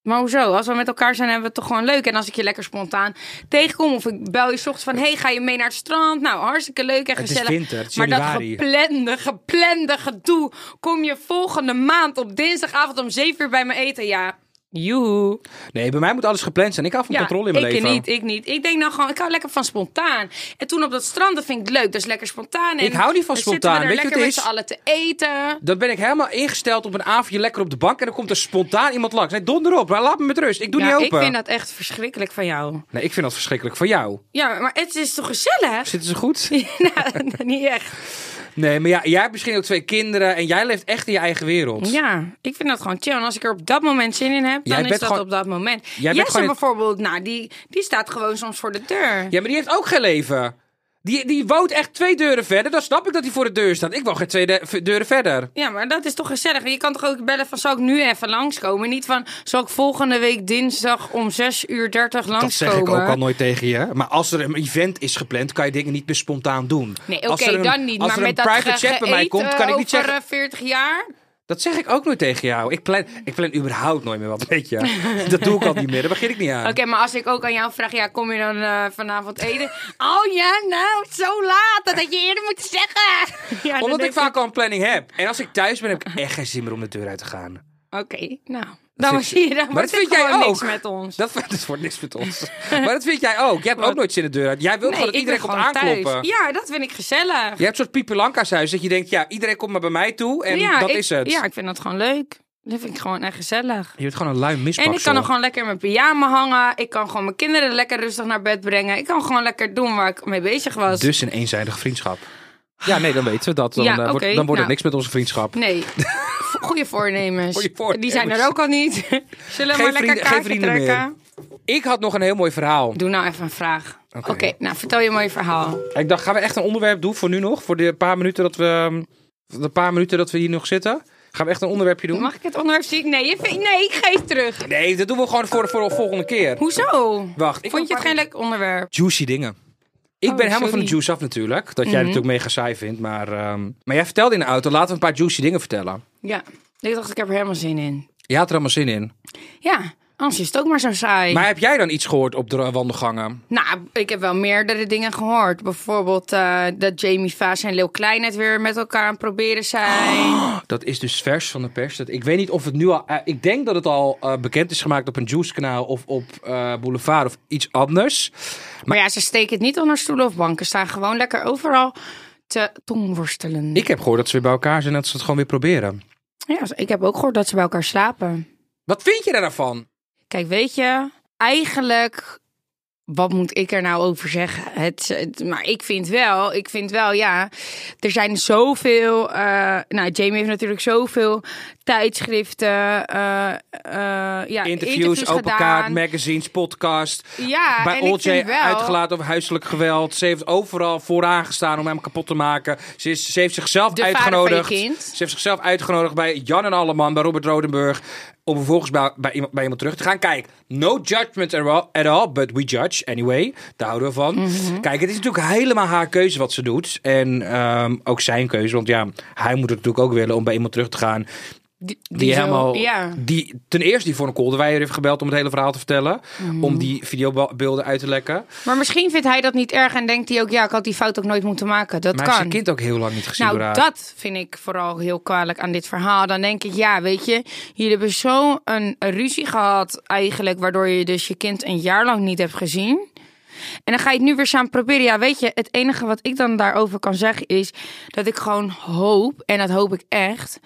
[SPEAKER 3] hoezo? Als we met elkaar zijn, hebben we het toch gewoon leuk. En als ik je lekker spontaan tegenkom of ik bel je 's ochtends van... hey, ga je mee naar het strand? Nou, hartstikke leuk en
[SPEAKER 4] Het is
[SPEAKER 3] gezellig.
[SPEAKER 4] winter, het is
[SPEAKER 3] maar dat
[SPEAKER 4] januari.
[SPEAKER 3] geplande, geplande gedoe... kom je volgende maand op dinsdagavond om 7 uur bij me eten, ja. Joehoe.
[SPEAKER 4] Nee, bij mij moet alles gepland zijn. Ik hou van controle in mijn
[SPEAKER 3] ik
[SPEAKER 4] leven.
[SPEAKER 3] niet, ik niet. Ik denk nou gewoon, ik hou lekker van spontaan. En toen op dat strand, dat vind ik leuk. Dat is lekker spontaan. En
[SPEAKER 4] Ik hou niet van
[SPEAKER 3] dan
[SPEAKER 4] spontaan.
[SPEAKER 3] Zitten we
[SPEAKER 4] Weet
[SPEAKER 3] er
[SPEAKER 4] je
[SPEAKER 3] lekker met
[SPEAKER 4] wat
[SPEAKER 3] z'n
[SPEAKER 4] het
[SPEAKER 3] allen te eten.
[SPEAKER 4] Dan ben ik helemaal ingesteld op een avondje lekker op de bank. En dan komt er spontaan iemand langs. Nee, donder op. maar Laat me met rust. Ik doe
[SPEAKER 3] ja,
[SPEAKER 4] niet
[SPEAKER 3] ik
[SPEAKER 4] open.
[SPEAKER 3] vind dat echt verschrikkelijk van jou.
[SPEAKER 4] Nee, ik vind dat verschrikkelijk voor jou.
[SPEAKER 3] Ja, maar het is toch gezellig?
[SPEAKER 4] Zitten ze goed?
[SPEAKER 3] nou, niet echt.
[SPEAKER 4] Nee, maar ja, jij hebt misschien ook twee kinderen. En jij leeft echt in je eigen wereld.
[SPEAKER 3] Ja, ik vind dat gewoon chill. En als ik er op dat moment zin in heb,
[SPEAKER 4] Jij
[SPEAKER 3] dan is
[SPEAKER 4] bent
[SPEAKER 3] dat
[SPEAKER 4] gewoon-
[SPEAKER 3] op dat moment.
[SPEAKER 4] bent
[SPEAKER 3] Jesse
[SPEAKER 4] gewoon het-
[SPEAKER 3] bijvoorbeeld, nou, die, die staat gewoon soms voor de deur.
[SPEAKER 4] Ja, maar die heeft ook geen leven. Die, die woont echt twee deuren verder. Dan snap ik dat hij voor de deur staat. Ik woon geen twee de- deuren verder.
[SPEAKER 3] Ja, maar dat is toch gezellig. Je kan toch ook bellen van, zal ik nu even langskomen? Niet van, zal ik volgende week dinsdag om 6 uur 30 langskomen?
[SPEAKER 4] nooit tegen je. Maar als er een event is gepland, kan je dingen niet meer spontaan doen.
[SPEAKER 3] Nee, oké,
[SPEAKER 4] Als er een-
[SPEAKER 3] dan niet.
[SPEAKER 4] Als
[SPEAKER 3] maar
[SPEAKER 4] er
[SPEAKER 3] met
[SPEAKER 4] een private
[SPEAKER 3] dat ge-
[SPEAKER 4] chat bij mij
[SPEAKER 3] geëet,
[SPEAKER 4] komt,
[SPEAKER 3] eh,
[SPEAKER 4] kan ik niet
[SPEAKER 3] over,
[SPEAKER 4] zeggen...
[SPEAKER 3] eh, 40 jaar.
[SPEAKER 4] Dat zeg ik ook nooit tegen jou. Ik plan, ik plan überhaupt nooit meer wat, weet je. dat doe ik al niet meer, daar begin ik niet aan.
[SPEAKER 3] Oké, maar als ik ook aan jou vraag, ja, kom je dan eh, vanavond eten? oh ja, nou, zo laat. Dat had je eerder moeten zeggen. Ja, dan
[SPEAKER 4] Omdat
[SPEAKER 3] denk
[SPEAKER 4] ik vaak al een planning heb. En als ik thuis ben, heb ik echt geen zin meer om de deur uit te gaan.
[SPEAKER 3] Oké, nou. Dan
[SPEAKER 4] vind-
[SPEAKER 3] zie je, dan
[SPEAKER 4] Maar
[SPEAKER 3] wordt
[SPEAKER 4] dat
[SPEAKER 3] het
[SPEAKER 4] vind jij
[SPEAKER 3] gewoon niks
[SPEAKER 4] ook.
[SPEAKER 3] met ons.
[SPEAKER 4] Dat, dat wordt niks met ons. maar dat vind jij ook. Jij hebt ook nooit zin in de deur uit. Jij wilt
[SPEAKER 3] Nee,
[SPEAKER 4] gewoon dat
[SPEAKER 3] ik ben
[SPEAKER 4] iedereen komt
[SPEAKER 3] gewoon thuis.
[SPEAKER 4] aankloppen.
[SPEAKER 3] Ja, dat vind ik gezellig.
[SPEAKER 4] Je hebt een soort Pipilanka's huis dat je denkt, ja, iedereen komt maar bij mij toe en
[SPEAKER 3] Ja,
[SPEAKER 4] dat
[SPEAKER 3] ik-
[SPEAKER 4] is het.
[SPEAKER 3] Ja, ik vind dat gewoon leuk. Dat vind ik gewoon echt gezellig.
[SPEAKER 4] Je bent gewoon een lui mispaksel.
[SPEAKER 3] En ik kan nog gewoon lekker in mijn pyjama hangen. Ik kan gewoon mijn kinderen lekker rustig naar bed brengen. Ik kan gewoon lekker doen waar ik mee bezig was.
[SPEAKER 4] Dus een eenzijdige vriendschap. Ja, nee, dan weten we dat. Dan,
[SPEAKER 3] Ja,
[SPEAKER 4] eh, wordt-
[SPEAKER 3] oké,
[SPEAKER 4] dan wordt het
[SPEAKER 3] nou.
[SPEAKER 4] niks met onze vriendschap.
[SPEAKER 3] Nee. Vo- Goede voornemens.
[SPEAKER 4] Goeie voornemens.
[SPEAKER 3] Die zijn er ook al niet. Zullen we maar lekker
[SPEAKER 4] vrienden- geen
[SPEAKER 3] kaartje
[SPEAKER 4] vrienden meer.
[SPEAKER 3] trekken?
[SPEAKER 4] Ik had nog een heel mooi verhaal.
[SPEAKER 3] Doe nou even een vraag.
[SPEAKER 4] Oké.
[SPEAKER 3] Oké, nou vertel je mooi verhaal.
[SPEAKER 4] Ik dacht, gaan we echt een onderwerp doen voor nu nog? Voor de paar minuten dat we, de paar minuten dat we hier nog zitten? Gaan we echt een onderwerpje doen?
[SPEAKER 3] Mag ik het onderwerp zien? Nee, je vindt- nee ik geef terug.
[SPEAKER 4] Nee, dat doen we gewoon voor, voor de volgende keer.
[SPEAKER 3] Hoezo?
[SPEAKER 4] Wacht, ik
[SPEAKER 3] Vond je het geen leuk onderwerp?
[SPEAKER 4] juicy dingen. Ik
[SPEAKER 3] Oh,
[SPEAKER 4] ben helemaal van de
[SPEAKER 3] sorry. Mhm.
[SPEAKER 4] juice af natuurlijk. Dat jij natuurlijk mega saai vindt. Maar, ehm, maar jij vertelde in de auto, laten we een paar juicy dingen vertellen.
[SPEAKER 3] Ja. Ik dacht, ik heb er helemaal zin in.
[SPEAKER 4] Je had er allemaal zin in.
[SPEAKER 3] Ja, anders is het ook maar zo saai.
[SPEAKER 4] Maar heb jij dan iets gehoord op de wandelgangen?
[SPEAKER 3] Nou, ik heb wel meerdere dingen gehoord. Bijvoorbeeld eh, dat Jamie Vaas en Leeuw Klein het weer met elkaar aan het proberen zijn.
[SPEAKER 4] Dat is dus vers van de pers. Dat, ik weet niet of het nu al... eh, ik denk dat het al eh, bekend is gemaakt op een Juice-kanaal of op eh, Boulevard of iets anders.
[SPEAKER 3] Maar ja, ze steken het niet onder stoelen of banken. Staan gewoon lekker overal te tongworstelen.
[SPEAKER 4] Ik heb gehoord dat ze weer bij elkaar zijn en dat ze het gewoon weer proberen.
[SPEAKER 3] Ja, ik heb ook gehoord dat ze bij elkaar slapen.
[SPEAKER 4] Wat vind je daar nou van?
[SPEAKER 3] Kijk, weet je, eigenlijk, wat moet ik er nou over zeggen? Het, het- maar ik vind wel, ik vind wel, ja, er zijn zoveel. eh, nou, Jamie heeft natuurlijk zoveel tijdschriften, eh, eh, ja,
[SPEAKER 4] interviews,
[SPEAKER 3] interviews
[SPEAKER 4] open
[SPEAKER 3] gedaan.
[SPEAKER 4] kaart, magazines, podcast.
[SPEAKER 3] Ja,
[SPEAKER 4] bij
[SPEAKER 3] en ik
[SPEAKER 4] OJ
[SPEAKER 3] vind wel-
[SPEAKER 4] uitgelaten over huiselijk geweld. Ze heeft overal vooraan gestaan om hem kapot te maken. Ze, is, ze heeft zichzelf
[SPEAKER 3] De vader van je
[SPEAKER 4] uitgenodigd.
[SPEAKER 3] kind.
[SPEAKER 4] Ze heeft zichzelf uitgenodigd bij Jan en Alleman, bij Robert Rodenburg. Om vervolgens bij, bij, iemand, bij iemand terug te gaan. Kijk, no judgment at all- at all, but we judge anyway. Daar houden we van.
[SPEAKER 3] Mhm.
[SPEAKER 4] Kijk, het is natuurlijk helemaal haar keuze wat ze doet. En ehm, ook zijn keuze. Want ja, hij moet het natuurlijk ook willen om bij iemand terug te gaan.
[SPEAKER 3] Die,
[SPEAKER 4] Die,
[SPEAKER 3] die zo-
[SPEAKER 4] helemaal.
[SPEAKER 3] ja.
[SPEAKER 4] Die, ten eerste die voor een Kolderweijer heeft gebeld om het hele verhaal te vertellen.
[SPEAKER 3] Mhm.
[SPEAKER 4] Om die videobeelden uit te lekken.
[SPEAKER 3] Maar misschien vindt hij dat niet erg en denkt hij ook, ja, ik had die fout ook nooit moeten maken. Dat
[SPEAKER 4] maar hij heeft
[SPEAKER 3] kan.
[SPEAKER 4] zijn kind ook heel lang niet gezien
[SPEAKER 3] Nou,
[SPEAKER 4] door haar.
[SPEAKER 3] dat vind ik vooral heel kwalijk aan dit verhaal. Dan denk ik, ja, weet je, jullie hebben zo'n een ruzie gehad eigenlijk... waardoor je dus je kind een jaar lang niet hebt gezien. En dan ga je het nu weer samen proberen. Ja, weet je, het enige wat ik dan daarover kan zeggen is... dat ik gewoon hoop, en dat hoop ik echt...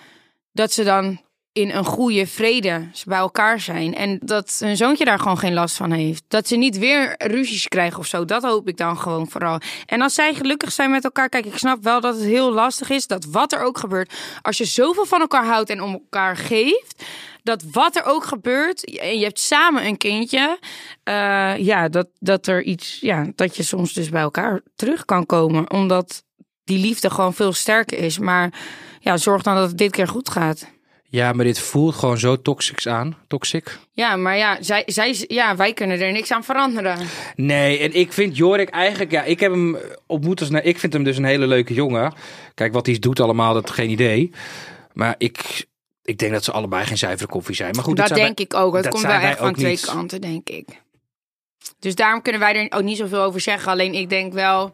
[SPEAKER 3] dat ze dan in een goede vrede bij elkaar zijn. En dat hun zoontje daar gewoon geen last van heeft. Dat ze niet weer ruzies krijgen of zo. Dat hoop ik dan gewoon vooral. En als zij gelukkig zijn met elkaar. Kijk, ik snap wel dat het heel lastig is. Dat wat er ook gebeurt. Als je zoveel van elkaar houdt en om elkaar geeft. Dat wat er ook gebeurt. En je hebt samen een kindje. eh, ja, dat, dat er iets. Ja, dat je soms dus bij elkaar terug kan komen. Omdat die liefde gewoon veel sterker is. Maar ja, zorg dan dat het dit keer goed gaat.
[SPEAKER 4] Ja, maar dit voelt gewoon zo toxics aan. Toxic.
[SPEAKER 3] Ja, maar ja, zij, zij, ja, wij kunnen er niks aan veranderen.
[SPEAKER 4] Nee, en ik vind Jorik eigenlijk... Ja, ik heb hem ontmoet als... nou, ik vind hem dus een hele leuke jongen. Kijk, wat hij doet allemaal, dat geen idee. Maar ik, ik denk dat ze allebei geen zuivere koffie zijn. Maar goed,
[SPEAKER 3] dat
[SPEAKER 4] zijn
[SPEAKER 3] denk ik ook. Het
[SPEAKER 4] dat
[SPEAKER 3] komt
[SPEAKER 4] zijn
[SPEAKER 3] wel
[SPEAKER 4] wij
[SPEAKER 3] echt van
[SPEAKER 4] ook
[SPEAKER 3] twee
[SPEAKER 4] niet.
[SPEAKER 3] kanten, denk ik. Dus daarom kunnen wij er ook niet zoveel over zeggen. Alleen ik denk wel,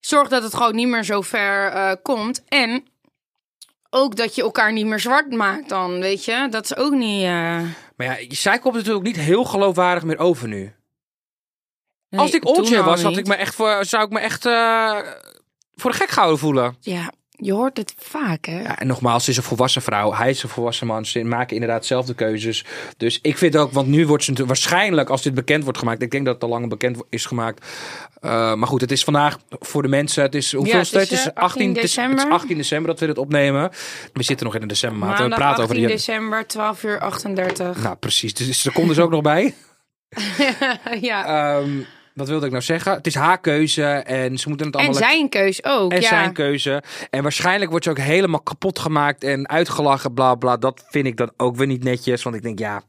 [SPEAKER 3] zorg dat het gewoon niet meer zo ver eh, komt. En ook dat je elkaar niet meer zwart maakt dan, weet je. Dat is ook niet... eh,
[SPEAKER 4] wij- Maar ja, zij komt natuurlijk niet heel geloofwaardig meer over nu.
[SPEAKER 3] nee,
[SPEAKER 4] Als ik
[SPEAKER 3] toen
[SPEAKER 4] Olje
[SPEAKER 3] al
[SPEAKER 4] was, had
[SPEAKER 3] nou niet.
[SPEAKER 4] ik me echt voor, zou ik me echt eh, voor de gek gehouden voelen.
[SPEAKER 3] Ja, je hoort het vaak, hè.
[SPEAKER 4] Ja, en nogmaals, ze is een volwassen vrouw. Hij is een volwassen man. Ze maken inderdaad zelf de keuzes. Dus ik vind ook, want nu wordt ze natuurlijk- waarschijnlijk, als dit bekend wordt gemaakt. Ik denk dat het al lang bekend wo- is gemaakt. Eh, maar goed, het is vandaag voor de mensen. Het is hoeveel
[SPEAKER 3] Ja, het is,
[SPEAKER 4] Het is
[SPEAKER 3] eh,
[SPEAKER 4] 18 december. Het is
[SPEAKER 3] december.
[SPEAKER 4] 18 december dat we dit opnemen. We zitten nog in de decembermaand. en We
[SPEAKER 3] Maandag
[SPEAKER 4] praten
[SPEAKER 3] 18
[SPEAKER 4] over die.
[SPEAKER 3] december, 12 uur 38.
[SPEAKER 4] Nou, precies. Dus er komt dus ook nog bij.
[SPEAKER 3] ja.
[SPEAKER 4] Ehm, wat wilde ik nou zeggen? Het is haar keuze en ze moeten het
[SPEAKER 3] en
[SPEAKER 4] allemaal
[SPEAKER 3] zijn keus ook,
[SPEAKER 4] En
[SPEAKER 3] ja.
[SPEAKER 4] zijn keuze. En waarschijnlijk wordt ze ook helemaal kapot gemaakt en uitgelachen, bla bla. Dat vind ik dan ook weer niet netjes. Want ik denk, ja,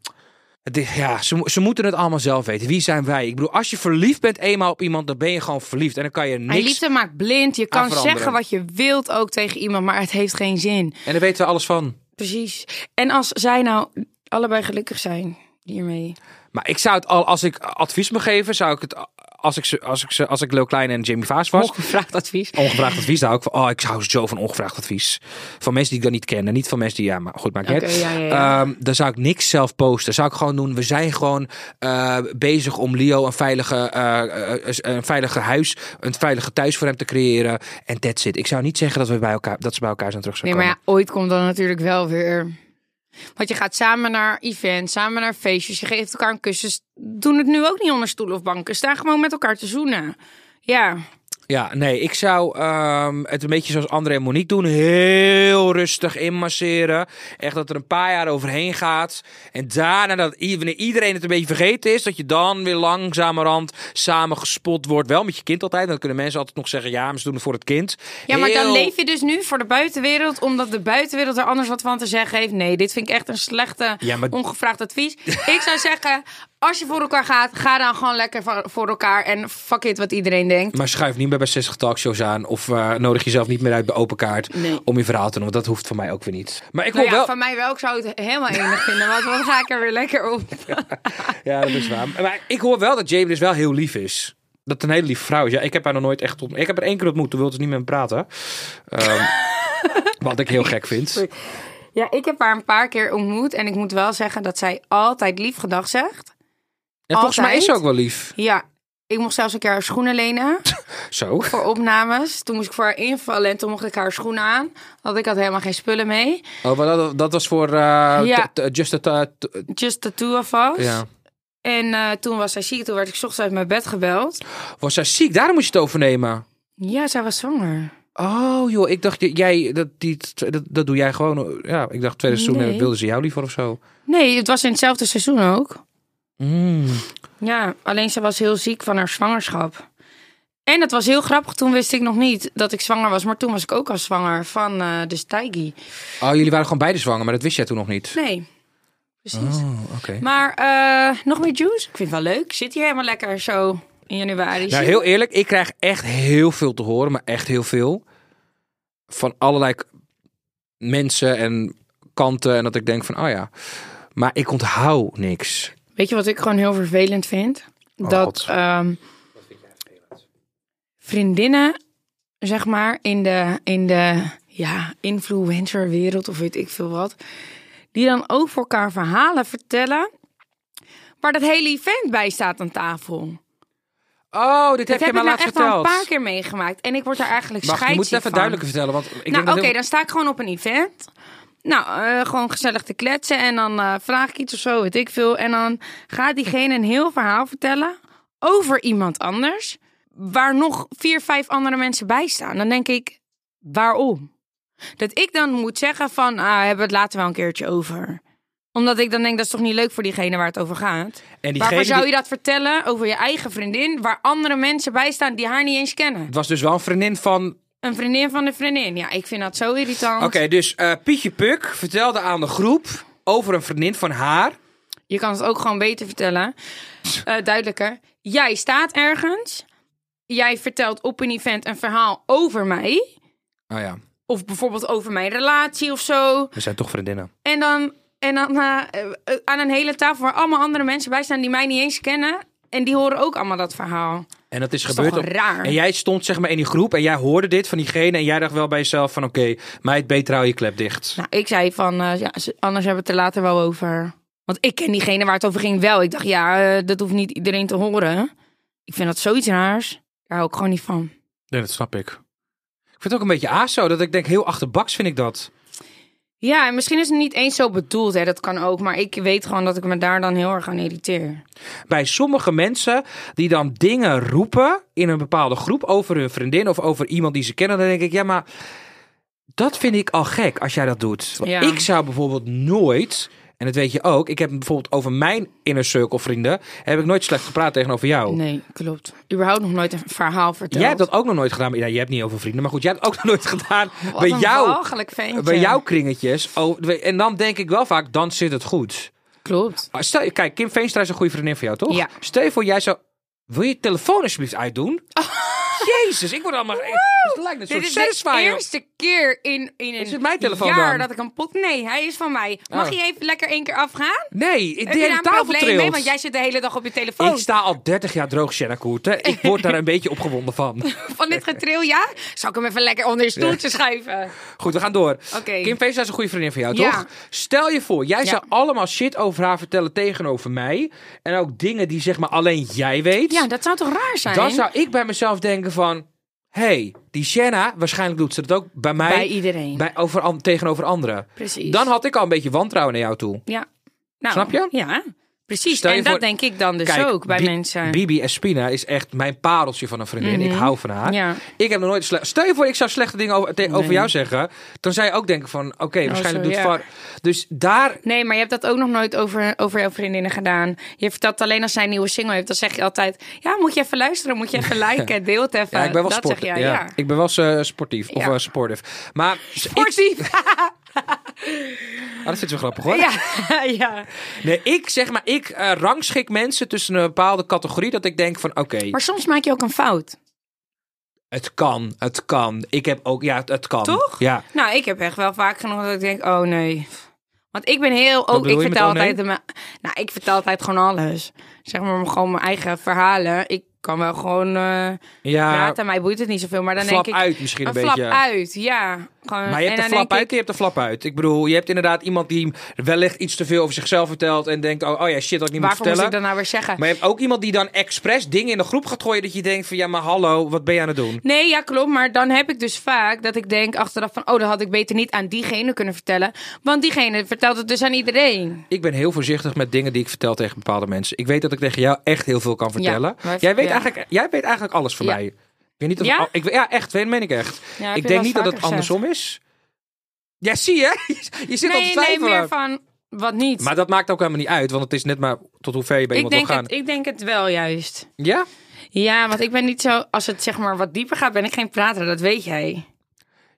[SPEAKER 4] het is, ja ze, mo- ze moeten het allemaal zelf weten. Wie zijn wij? Ik bedoel, als je verliefd bent eenmaal op iemand, dan ben je gewoon verliefd. En dan kan je
[SPEAKER 3] En
[SPEAKER 4] niks.
[SPEAKER 3] liefde maakt blind. Je kan
[SPEAKER 4] veranderen.
[SPEAKER 3] zeggen wat je wilt ook tegen iemand, maar het heeft geen zin.
[SPEAKER 4] En daar weten we alles van.
[SPEAKER 3] Precies. En als zij nou allebei gelukkig zijn hiermee.
[SPEAKER 4] Maar ik zou het al, als ik advies mag geven, zou ik het. Als ik, ze- als ik, ze- als ik Leo Klein en Jamie Vaas was.
[SPEAKER 3] Ongevraagd advies.
[SPEAKER 4] Ongevraagd advies, daar hou ik van. Oh, ik hou zo van ongevraagd advies. Van mensen die ik dan niet ken. En niet van mensen die, ja, maar goed, maakt niet
[SPEAKER 3] Oké,
[SPEAKER 4] uit.
[SPEAKER 3] ja, ja, ja.
[SPEAKER 4] Ehm, dan zou ik niks zelf posten. Zou ik gewoon doen, we zijn gewoon eh, bezig om Leo een veilige, eh, eh, een veilige huis, een veilige thuis voor hem te creëren. En that's it. Ik zou niet zeggen dat, we bij elkaar, dat ze bij elkaar zijn terug
[SPEAKER 3] Nee,
[SPEAKER 4] zouden
[SPEAKER 3] maar ja,
[SPEAKER 4] komen.
[SPEAKER 3] ooit komt dan natuurlijk wel weer. Want je gaat samen naar events, samen naar feestjes. Je geeft elkaar een kus. Doen het nu ook niet onder stoelen of banken. Sta gewoon met elkaar te zoenen. Ja.
[SPEAKER 4] Ja, nee, ik zou ehm, het een beetje zoals André en Monique doen. Heel rustig inmasseren. Echt dat er een paar jaar overheen gaat. En daarna, dat i- wanneer iedereen het een beetje vergeten is, dat je dan weer langzamerhand samen gespot wordt. Wel met je kind altijd. Dan kunnen mensen altijd nog zeggen, ja, maar ze doen het voor het kind.
[SPEAKER 3] Ja, maar dan
[SPEAKER 4] Heel-
[SPEAKER 3] leef je dus nu voor de buitenwereld, omdat de buitenwereld er anders wat van te zeggen heeft. Nee, dit vind ik echt een slechte,
[SPEAKER 4] Ja, maar-
[SPEAKER 3] ongevraagd advies. ik zou zeggen, als je voor elkaar gaat, ga dan gewoon lekker va- voor elkaar en fuck it wat iedereen denkt.
[SPEAKER 4] Maar schuif niet meer bij 60 talkshows aan. Of eh, nodig jezelf niet meer uit bij open kaart
[SPEAKER 3] Nee.
[SPEAKER 4] om je verhaal te doen. Want dat hoeft van mij ook weer niet. Maar ik wil
[SPEAKER 3] Nou ja,
[SPEAKER 4] wel...
[SPEAKER 3] van mij wel. Ik zou het helemaal enig vinden, want dan ga ik er weer lekker op.
[SPEAKER 4] Ja, dat is waar. Maar ik hoor wel dat Jamie dus wel heel lief is. Dat het een hele lieve vrouw is. Ja, ik heb haar nog nooit echt ontmoet. Ik heb haar één keer ontmoet. Toen wilde ze niet met me praten. Ehm, wat ik heel gek vind.
[SPEAKER 3] Ja, ik heb haar een paar keer ontmoet en ik moet wel zeggen dat zij altijd lief gedag zegt.
[SPEAKER 4] En volgens mij is ze ook
[SPEAKER 3] Altijd?
[SPEAKER 4] wel lief.
[SPEAKER 3] Ja, ik mocht zelfs een keer haar schoenen lenen.
[SPEAKER 4] Zo.
[SPEAKER 3] voor opnames. Toen moest ik voor haar invallen en toen mocht ik haar schoenen aan. Want ik had helemaal geen spullen mee.
[SPEAKER 4] Oh, maar dat, dat was voor eh,
[SPEAKER 3] Ja.
[SPEAKER 4] t- t- Just a t- t-
[SPEAKER 3] Just the two of us.
[SPEAKER 4] Ja.
[SPEAKER 3] En eh, toen was zij ziek. Toen werd ik 's ochtends uit mijn bed gebeld.
[SPEAKER 4] Was zij ziek? Daarom moest je het overnemen.
[SPEAKER 3] Ja, zij was zwanger.
[SPEAKER 4] Oh joh, ik dacht, j- jij, dat, die, dat, dat doe jij gewoon. Ja, ik dacht tweede seizoen
[SPEAKER 3] Nee.
[SPEAKER 4] eh, wilden ze jou liever of zo.
[SPEAKER 3] Nee, het was in hetzelfde seizoen ook.
[SPEAKER 4] Mm.
[SPEAKER 3] Ja, alleen ze was heel ziek van haar zwangerschap. En dat was heel grappig. Toen wist ik nog niet dat ik zwanger was. Maar toen was ik ook al zwanger van eh de Stijgie.
[SPEAKER 4] Oh, jullie waren gewoon beide zwanger, maar dat wist jij toen nog niet.
[SPEAKER 3] Nee, precies.
[SPEAKER 4] Oh, oké.
[SPEAKER 3] Maar eh, nog meer juice? Ik vind het wel leuk. Ik zit hier helemaal lekker zo in januari.
[SPEAKER 4] Nou, heel eerlijk, ik krijg echt heel veel te horen, maar echt heel veel. Van allerlei k- mensen en kanten. En dat ik denk van, oh ja. Maar ik onthoud niks.
[SPEAKER 3] Weet je wat ik gewoon heel vervelend vind? dat
[SPEAKER 4] God.
[SPEAKER 3] ehm, vriendinnen, zeg maar, in de, in de ja, influencerwereld of weet ik veel wat, die dan ook voor elkaar verhalen vertellen. Waar dat hele event bij staat aan tafel.
[SPEAKER 4] Oh, dit heb
[SPEAKER 3] Dat heb
[SPEAKER 4] je
[SPEAKER 3] ik
[SPEAKER 4] maar
[SPEAKER 3] nou echt
[SPEAKER 4] laatst
[SPEAKER 3] al een
[SPEAKER 4] verteld.
[SPEAKER 3] paar keer meegemaakt. En ik word daar eigenlijk
[SPEAKER 4] Mag, je moet het
[SPEAKER 3] scheidsziek
[SPEAKER 4] even
[SPEAKER 3] van.
[SPEAKER 4] duidelijker vertellen. Want ik
[SPEAKER 3] nou,
[SPEAKER 4] denk
[SPEAKER 3] oké,
[SPEAKER 4] dat heel-
[SPEAKER 3] dan sta ik gewoon op een event. Nou, eh, gewoon gezellig te kletsen. En dan eh, vraag ik iets of zo, weet ik veel. En dan gaat diegene een heel verhaal vertellen over iemand anders. Waar nog vier, vijf andere mensen bij staan. Dan denk ik, waarom? Dat ik dan moet zeggen van, ah, hebben we het later wel een keertje over. Omdat ik dan denk, dat is toch niet leuk voor diegene waar het over gaat.
[SPEAKER 4] En diegene
[SPEAKER 3] Waarvoor zou
[SPEAKER 4] die-
[SPEAKER 3] je dat vertellen over je eigen vriendin... waar andere mensen bij staan die haar niet eens kennen?
[SPEAKER 4] Het was dus wel een vriendin van
[SPEAKER 3] Een vriendin van de vriendin. Ja, ik vind dat zo irritant.
[SPEAKER 4] Oké, dus eh, Pietje Puk vertelde aan de groep over een vriendin van haar.
[SPEAKER 3] Je kan het ook gewoon beter vertellen. Eh, duidelijker. Jij staat ergens. Jij vertelt op een event een verhaal over mij.
[SPEAKER 4] Oh ja,
[SPEAKER 3] Of bijvoorbeeld over mijn relatie of zo.
[SPEAKER 4] we zijn toch vriendinnen.
[SPEAKER 3] En dan, en dan eh, eh, aan een hele tafel waar allemaal andere mensen bij staan die mij niet eens kennen. En die horen ook allemaal dat verhaal.
[SPEAKER 4] En dat is,
[SPEAKER 3] is
[SPEAKER 4] gebeurd.
[SPEAKER 3] toch raar?
[SPEAKER 4] En jij stond zeg maar in die groep en jij hoorde dit van diegene. En jij dacht wel bij jezelf van oké, meid, beter hou je klep dicht.
[SPEAKER 3] Nou, ik zei van, eh, ja, ze- anders hebben we het er later wel over. Want ik ken diegene waar het over ging wel. Ik dacht, ja, eh, dat hoeft niet iedereen te horen. Ik vind dat zoiets raars. Daar hou ik gewoon niet van.
[SPEAKER 4] Nee, dat snap ik. Ik vind het ook een beetje aso dat ik denk heel achterbaks vind ik dat.
[SPEAKER 3] Ja, en misschien is het niet eens zo bedoeld, hè, dat kan ook. Maar ik weet gewoon dat ik me daar dan heel erg aan irriteer.
[SPEAKER 4] Bij sommige mensen die dan dingen roepen in een bepaalde groep over hun vriendin of over iemand die ze kennen. Dan denk ik ja, maar dat vind ik al gek als jij dat doet. Want
[SPEAKER 3] Ja.
[SPEAKER 4] Ik zou bijvoorbeeld nooit, en dat weet je ook, ik heb bijvoorbeeld over mijn inner circle vrienden, heb ik nooit slecht gepraat tegenover jou.
[SPEAKER 3] Nee, klopt. Überhaupt nog nooit een verhaal verteld.
[SPEAKER 4] Oh. Jij hebt dat ook nog nooit gedaan. maar- Ja, jij hebt niet over vrienden, maar goed, jij hebt het ook nog nooit gedaan
[SPEAKER 3] Wat
[SPEAKER 4] bij,
[SPEAKER 3] een
[SPEAKER 4] jou,
[SPEAKER 3] walgelijk ventje.
[SPEAKER 4] bij jouw kringetjes. Oh, en dan denk ik wel vaak, dan zit het goed.
[SPEAKER 3] Klopt.
[SPEAKER 4] Ah, Stel, kijk, Kim Veenstra is een goede vriendin van jou, toch?
[SPEAKER 3] Ja.
[SPEAKER 4] Stel je voor, jij zou... Wil je je telefoon alsjeblieft uitdoen? Jezus, ik word allemaal... Het lijkt net
[SPEAKER 3] Dit
[SPEAKER 4] zo'n
[SPEAKER 3] is de
[SPEAKER 4] satisfier.
[SPEAKER 3] eerste keer in, in een
[SPEAKER 4] Is het mijn telefoon
[SPEAKER 3] jaar
[SPEAKER 4] dan?
[SPEAKER 3] dat ik een pot... Nee, hij is van mij. Mag
[SPEAKER 4] Oh.
[SPEAKER 3] je even lekker één keer afgaan?
[SPEAKER 4] Nee, ik-
[SPEAKER 3] Heb
[SPEAKER 4] de
[SPEAKER 3] je
[SPEAKER 4] hele
[SPEAKER 3] daar een
[SPEAKER 4] tafel
[SPEAKER 3] probleem mee?
[SPEAKER 4] trilt.
[SPEAKER 3] Want jij zit de hele dag op je telefoon.
[SPEAKER 4] Ik sta al 30 jaar droog, Shanna Koert, hè. Ik word daar een beetje opgewonden van.
[SPEAKER 3] Van dit getril, ja? Zal ik hem even lekker onder je stoeltje schuiven?
[SPEAKER 4] Goed, we gaan door.
[SPEAKER 3] Oké.
[SPEAKER 4] Kim Veenstra is een goede vriendin van jou,
[SPEAKER 3] Ja.
[SPEAKER 4] toch? Stel je voor, jij
[SPEAKER 3] Ja.
[SPEAKER 4] zou allemaal shit over haar vertellen tegenover mij. En ook dingen die zeg maar alleen jij weet.
[SPEAKER 3] Ja, dat zou toch raar zijn?
[SPEAKER 4] Dan zou ik bij mezelf denken van... hey, die Shanna, waarschijnlijk doet ze dat ook bij mij.
[SPEAKER 3] Bij iedereen.
[SPEAKER 4] Bij, over, an- tegenover anderen.
[SPEAKER 3] Precies.
[SPEAKER 4] Dan had ik al een beetje wantrouwen naar jou toe.
[SPEAKER 3] Ja. Nou,
[SPEAKER 4] Snap je?
[SPEAKER 3] Ja, precies.
[SPEAKER 4] Stel je
[SPEAKER 3] En dat
[SPEAKER 4] voor-
[SPEAKER 3] denk ik dan dus ook bij
[SPEAKER 4] Bi-
[SPEAKER 3] mensen. Mhm.
[SPEAKER 4] Bibi Espina is echt mijn pareltje van een vriendin. Ik hou van haar.
[SPEAKER 3] Ja.
[SPEAKER 4] Ik heb nog nooit slecht. Stel je voor, ik zou slechte dingen over, te- over jou zeggen. Dan zou je ook denken van, oké, waarschijnlijk
[SPEAKER 3] Oh, zo,
[SPEAKER 4] doet
[SPEAKER 3] ja.
[SPEAKER 4] Var. Dus daar.
[SPEAKER 3] Nee, maar je hebt dat ook nog nooit over, over jouw vriendinnen gedaan. Je vertelt alleen als zij een nieuwe single heeft. Dan zeg je altijd, ja, moet je even luisteren, moet je even liken, deel het even.
[SPEAKER 4] Ja, ik ben wel
[SPEAKER 3] Eh, dat
[SPEAKER 4] sport-
[SPEAKER 3] zeg jij, ja.
[SPEAKER 4] Ik ben wel eh, sportief. Of
[SPEAKER 3] Ja.
[SPEAKER 4] eh, sportief. Maar Ik,
[SPEAKER 3] Sportief.
[SPEAKER 4] ah, dat vind je wel grappig hoor.
[SPEAKER 3] ja, ja.
[SPEAKER 4] Nee, ik zeg maar, ik eh, rangschik mensen tussen een bepaalde categorie. Dat ik denk van, oké,
[SPEAKER 3] Maar soms maak je ook een fout,
[SPEAKER 4] het kan, het kan. Ik heb ook, ja, het, het kan.
[SPEAKER 3] toch?
[SPEAKER 4] Ja.
[SPEAKER 3] Nou, ik heb echt wel vaak genoeg dat ik denk, oh nee. Want ik ben heel... Ook,
[SPEAKER 4] bedoel
[SPEAKER 3] ik
[SPEAKER 4] je met
[SPEAKER 3] vertel
[SPEAKER 4] oh nee?
[SPEAKER 3] altijd... de ma- Nou, ik vertel altijd gewoon alles. Zeg maar gewoon mijn eigen verhalen. Ik kan wel gewoon... eh,
[SPEAKER 4] Ja,
[SPEAKER 3] praten. Mij boeit het niet zoveel. Maar dan
[SPEAKER 4] flap
[SPEAKER 3] denk ik.
[SPEAKER 4] uit misschien een,
[SPEAKER 3] een
[SPEAKER 4] beetje.
[SPEAKER 3] flap uit, ja. Gewoon,
[SPEAKER 4] Maar je hebt
[SPEAKER 3] eh, en
[SPEAKER 4] de
[SPEAKER 3] dan
[SPEAKER 4] flap
[SPEAKER 3] denk
[SPEAKER 4] uit,
[SPEAKER 3] ik,
[SPEAKER 4] je hebt de flap uit. Ik bedoel, je hebt inderdaad iemand die wellicht iets te veel over zichzelf vertelt en denkt, oh, oh ja, shit, dat ik niet moet
[SPEAKER 3] Waarvoor moet
[SPEAKER 4] vertellen.
[SPEAKER 3] ik dat nou weer zeggen?
[SPEAKER 4] Maar je hebt ook iemand die dan expres dingen in de groep gaat gooien dat je denkt van, ja, maar hallo, wat ben je aan het doen?
[SPEAKER 3] Nee, ja, klopt. Maar dan heb ik dus vaak dat ik denk achteraf van... oh, dat had ik beter niet aan diegene kunnen vertellen. Want diegene vertelt het dus aan iedereen.
[SPEAKER 4] Ik ben heel voorzichtig met dingen die ik vertel tegen bepaalde mensen. Ik weet dat ik tegen jou echt heel veel kan vertellen.
[SPEAKER 3] maar-
[SPEAKER 4] jij, weet
[SPEAKER 3] ja.
[SPEAKER 4] eigenlijk, jij weet eigenlijk alles van
[SPEAKER 3] Ja.
[SPEAKER 4] mij. Ik weet niet of
[SPEAKER 3] Ja?
[SPEAKER 4] al- ik, ja, echt, weet meen ik echt.
[SPEAKER 3] Ja, heb je
[SPEAKER 4] ik
[SPEAKER 3] wel
[SPEAKER 4] denk
[SPEAKER 3] eens
[SPEAKER 4] niet dat het
[SPEAKER 3] vaker gezegd.
[SPEAKER 4] andersom is. Ja, zie je? Je zit al te
[SPEAKER 3] nee, nee,
[SPEAKER 4] twijfelen.
[SPEAKER 3] meer van... Wat niet?
[SPEAKER 4] Maar dat maakt ook helemaal niet uit, want het is net maar tot hoe ver je bij
[SPEAKER 3] ik,
[SPEAKER 4] iemand wil
[SPEAKER 3] denk
[SPEAKER 4] gaan.
[SPEAKER 3] het, ik denk het wel juist.
[SPEAKER 4] Ja?
[SPEAKER 3] Ja, want ik ben niet zo... Als het zeg maar wat dieper gaat, ben ik geen prater. Dat weet jij.
[SPEAKER 4] Nou,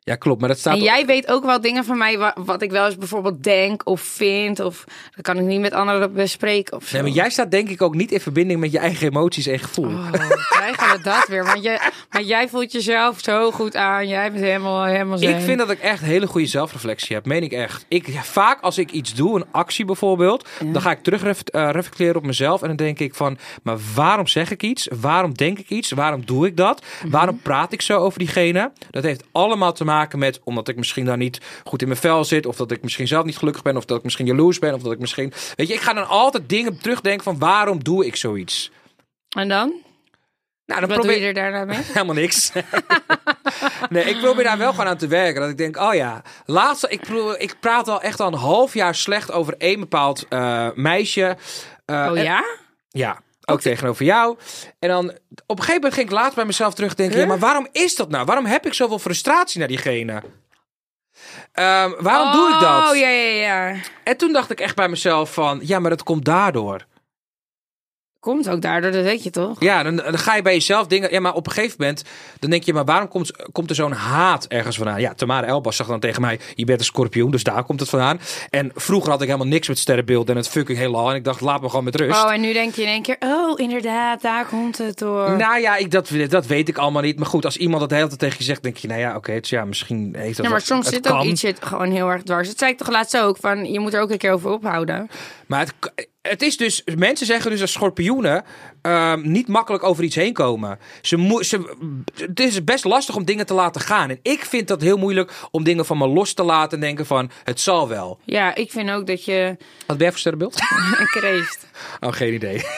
[SPEAKER 4] Ja, klopt. Maar dat staat
[SPEAKER 3] En
[SPEAKER 4] op-
[SPEAKER 3] jij weet ook wel dingen van mij wa- wat, ik wel eens bijvoorbeeld denk of vind. Of dat kan ik niet met anderen bespreken of zo.
[SPEAKER 4] Nee, maar jij staat denk ik ook niet in verbinding met je eigen emoties en gevoel.
[SPEAKER 3] Oh, krijgen we dat weer. Want jij, maar jij voelt jezelf zo goed aan. Jij bent helemaal, helemaal zen.
[SPEAKER 4] Ik vind dat ik echt hele goede zelfreflectie heb, meen ik echt. Ik, vaak als ik iets doe, een actie bijvoorbeeld, dan ga ik terug ref- eh, reflecteren op mezelf. En dan denk ik van, maar waarom zeg ik iets? Waarom denk ik iets? Waarom doe ik dat?
[SPEAKER 3] Mhm.
[SPEAKER 4] Waarom praat ik zo over diegene? Dat heeft allemaal te maken met, omdat ik misschien daar niet goed in mijn vel zit. Of dat ik misschien zelf niet gelukkig ben. Of dat ik misschien jaloers ben. Of dat ik misschien... Weet je, ik ga dan altijd dingen terugdenken van, waarom doe ik zoiets?
[SPEAKER 3] En dan?
[SPEAKER 4] Nou,
[SPEAKER 3] Wat doe je er daarna mee?
[SPEAKER 4] Helemaal niks. nee, ik probeer daar wel gewoon aan te werken. Dat ik denk, oh ja, laatst, ik, pro- ik praat al echt al een half jaar slecht over één bepaald eh, meisje. Eh,
[SPEAKER 3] Oh
[SPEAKER 4] en-
[SPEAKER 3] ja?
[SPEAKER 4] ja, ook tegenover jou. En dan op een gegeven moment ging ik later bij mezelf terugdenken. Ja, maar waarom is dat nou? Waarom heb ik zoveel frustratie naar diegene? Ehm, waarom doe ik dat?
[SPEAKER 3] Oh ja, ja, ja.
[SPEAKER 4] En toen dacht ik echt bij mezelf van, ja, maar dat komt daardoor.
[SPEAKER 3] Komt ook daardoor, dat weet je toch?
[SPEAKER 4] Ja, dan, dan ga je bij jezelf dingen. Ja, maar op een gegeven moment. dan denk je, maar waarom komt, komt er zo'n haat ergens vandaan? Ja, Tamara Elbas zag dan tegen mij: Je bent een scorpioen, dus daar komt het vandaan. En vroeger had ik helemaal niks met sterrenbeelden en het fucking heelal. En ik dacht, laat me gewoon met rust.
[SPEAKER 3] Oh, en nu denk je in één keer, oh, inderdaad, daar komt het door.
[SPEAKER 4] nou ja, ik, dat, dat weet ik allemaal niet. Maar goed, als iemand dat de hele tijd tegen je zegt, denk je, nou ja, oké, het is- ja, misschien heeft dat.
[SPEAKER 3] ja, maar
[SPEAKER 4] wat-
[SPEAKER 3] soms
[SPEAKER 4] het
[SPEAKER 3] zit ook
[SPEAKER 4] kan.
[SPEAKER 3] iets shit gewoon heel erg dwars. Dat zei ik toch laatst ook, van je moet er ook een keer over ophouden.
[SPEAKER 4] Maar het, het is dus, mensen zeggen dus dat schorpioenen ehm, niet makkelijk over iets heen komen. Ze moe- ze, het is best lastig om dingen te laten gaan. En ik vind dat heel moeilijk om dingen van me los te laten en denken van, het zal wel.
[SPEAKER 3] Ja, ik vind ook dat je
[SPEAKER 4] Wat ben jij voor sterrenbeeld?
[SPEAKER 3] een kreeft.
[SPEAKER 4] Oh, geen idee.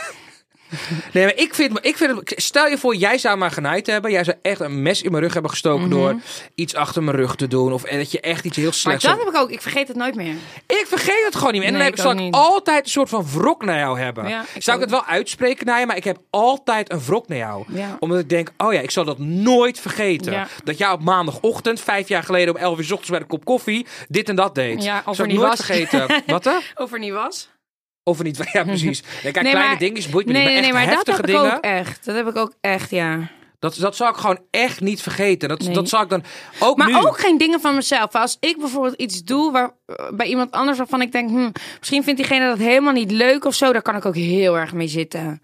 [SPEAKER 4] Nee, maar ik vind, ik vind het- stel je voor, jij zou maar genaaid hebben. Jij zou echt een mes in mijn rug hebben gestoken door iets achter mijn rug te doen. Of dat je echt iets heel
[SPEAKER 3] Maar
[SPEAKER 4] slechts
[SPEAKER 3] dat heb ik ook, ik vergeet het nooit meer.
[SPEAKER 4] Ik vergeet het gewoon niet meer. En dan
[SPEAKER 3] Nee,
[SPEAKER 4] heb ik,
[SPEAKER 3] ik ook
[SPEAKER 4] zal ik
[SPEAKER 3] niet.
[SPEAKER 4] altijd een soort van wrok naar jou hebben.
[SPEAKER 3] Ja, ik
[SPEAKER 4] zou ik
[SPEAKER 3] ook.
[SPEAKER 4] het wel uitspreken naar je, maar ik heb altijd een wrok naar jou.
[SPEAKER 3] Ja.
[SPEAKER 4] Omdat ik denk, oh ja, ik zal dat nooit vergeten.
[SPEAKER 3] Ja.
[SPEAKER 4] Dat jij op maandagochtend, vijf jaar geleden om elf uur 's ochtends bij de kop koffie, dit en dat deed.
[SPEAKER 3] Ja, of
[SPEAKER 4] zal
[SPEAKER 3] er
[SPEAKER 4] ik
[SPEAKER 3] niet
[SPEAKER 4] nooit
[SPEAKER 3] was.
[SPEAKER 4] vergeten. Wat hè?
[SPEAKER 3] Of er niet was.
[SPEAKER 4] Of er niet. Ja, precies. Nee, kijk,
[SPEAKER 3] Nee,
[SPEAKER 4] kleine
[SPEAKER 3] maar-
[SPEAKER 4] dingetjes boeit me
[SPEAKER 3] Nee,
[SPEAKER 4] niet,
[SPEAKER 3] nee,
[SPEAKER 4] maar
[SPEAKER 3] nee,
[SPEAKER 4] echt
[SPEAKER 3] maar dat
[SPEAKER 4] heftige
[SPEAKER 3] heb ik
[SPEAKER 4] dingen.
[SPEAKER 3] ook echt. Dat heb ik ook echt, ja.
[SPEAKER 4] Dat, dat zal ik gewoon echt niet vergeten. Dat,
[SPEAKER 3] Nee.
[SPEAKER 4] dat zal ik dan ook
[SPEAKER 3] Maar
[SPEAKER 4] nu.
[SPEAKER 3] ook geen dingen van mezelf. Als ik bijvoorbeeld iets doe waar, eh, bij iemand anders waarvan ik denk, hm, misschien vindt diegene dat helemaal niet leuk of zo, daar kan ik ook heel erg mee zitten. Dan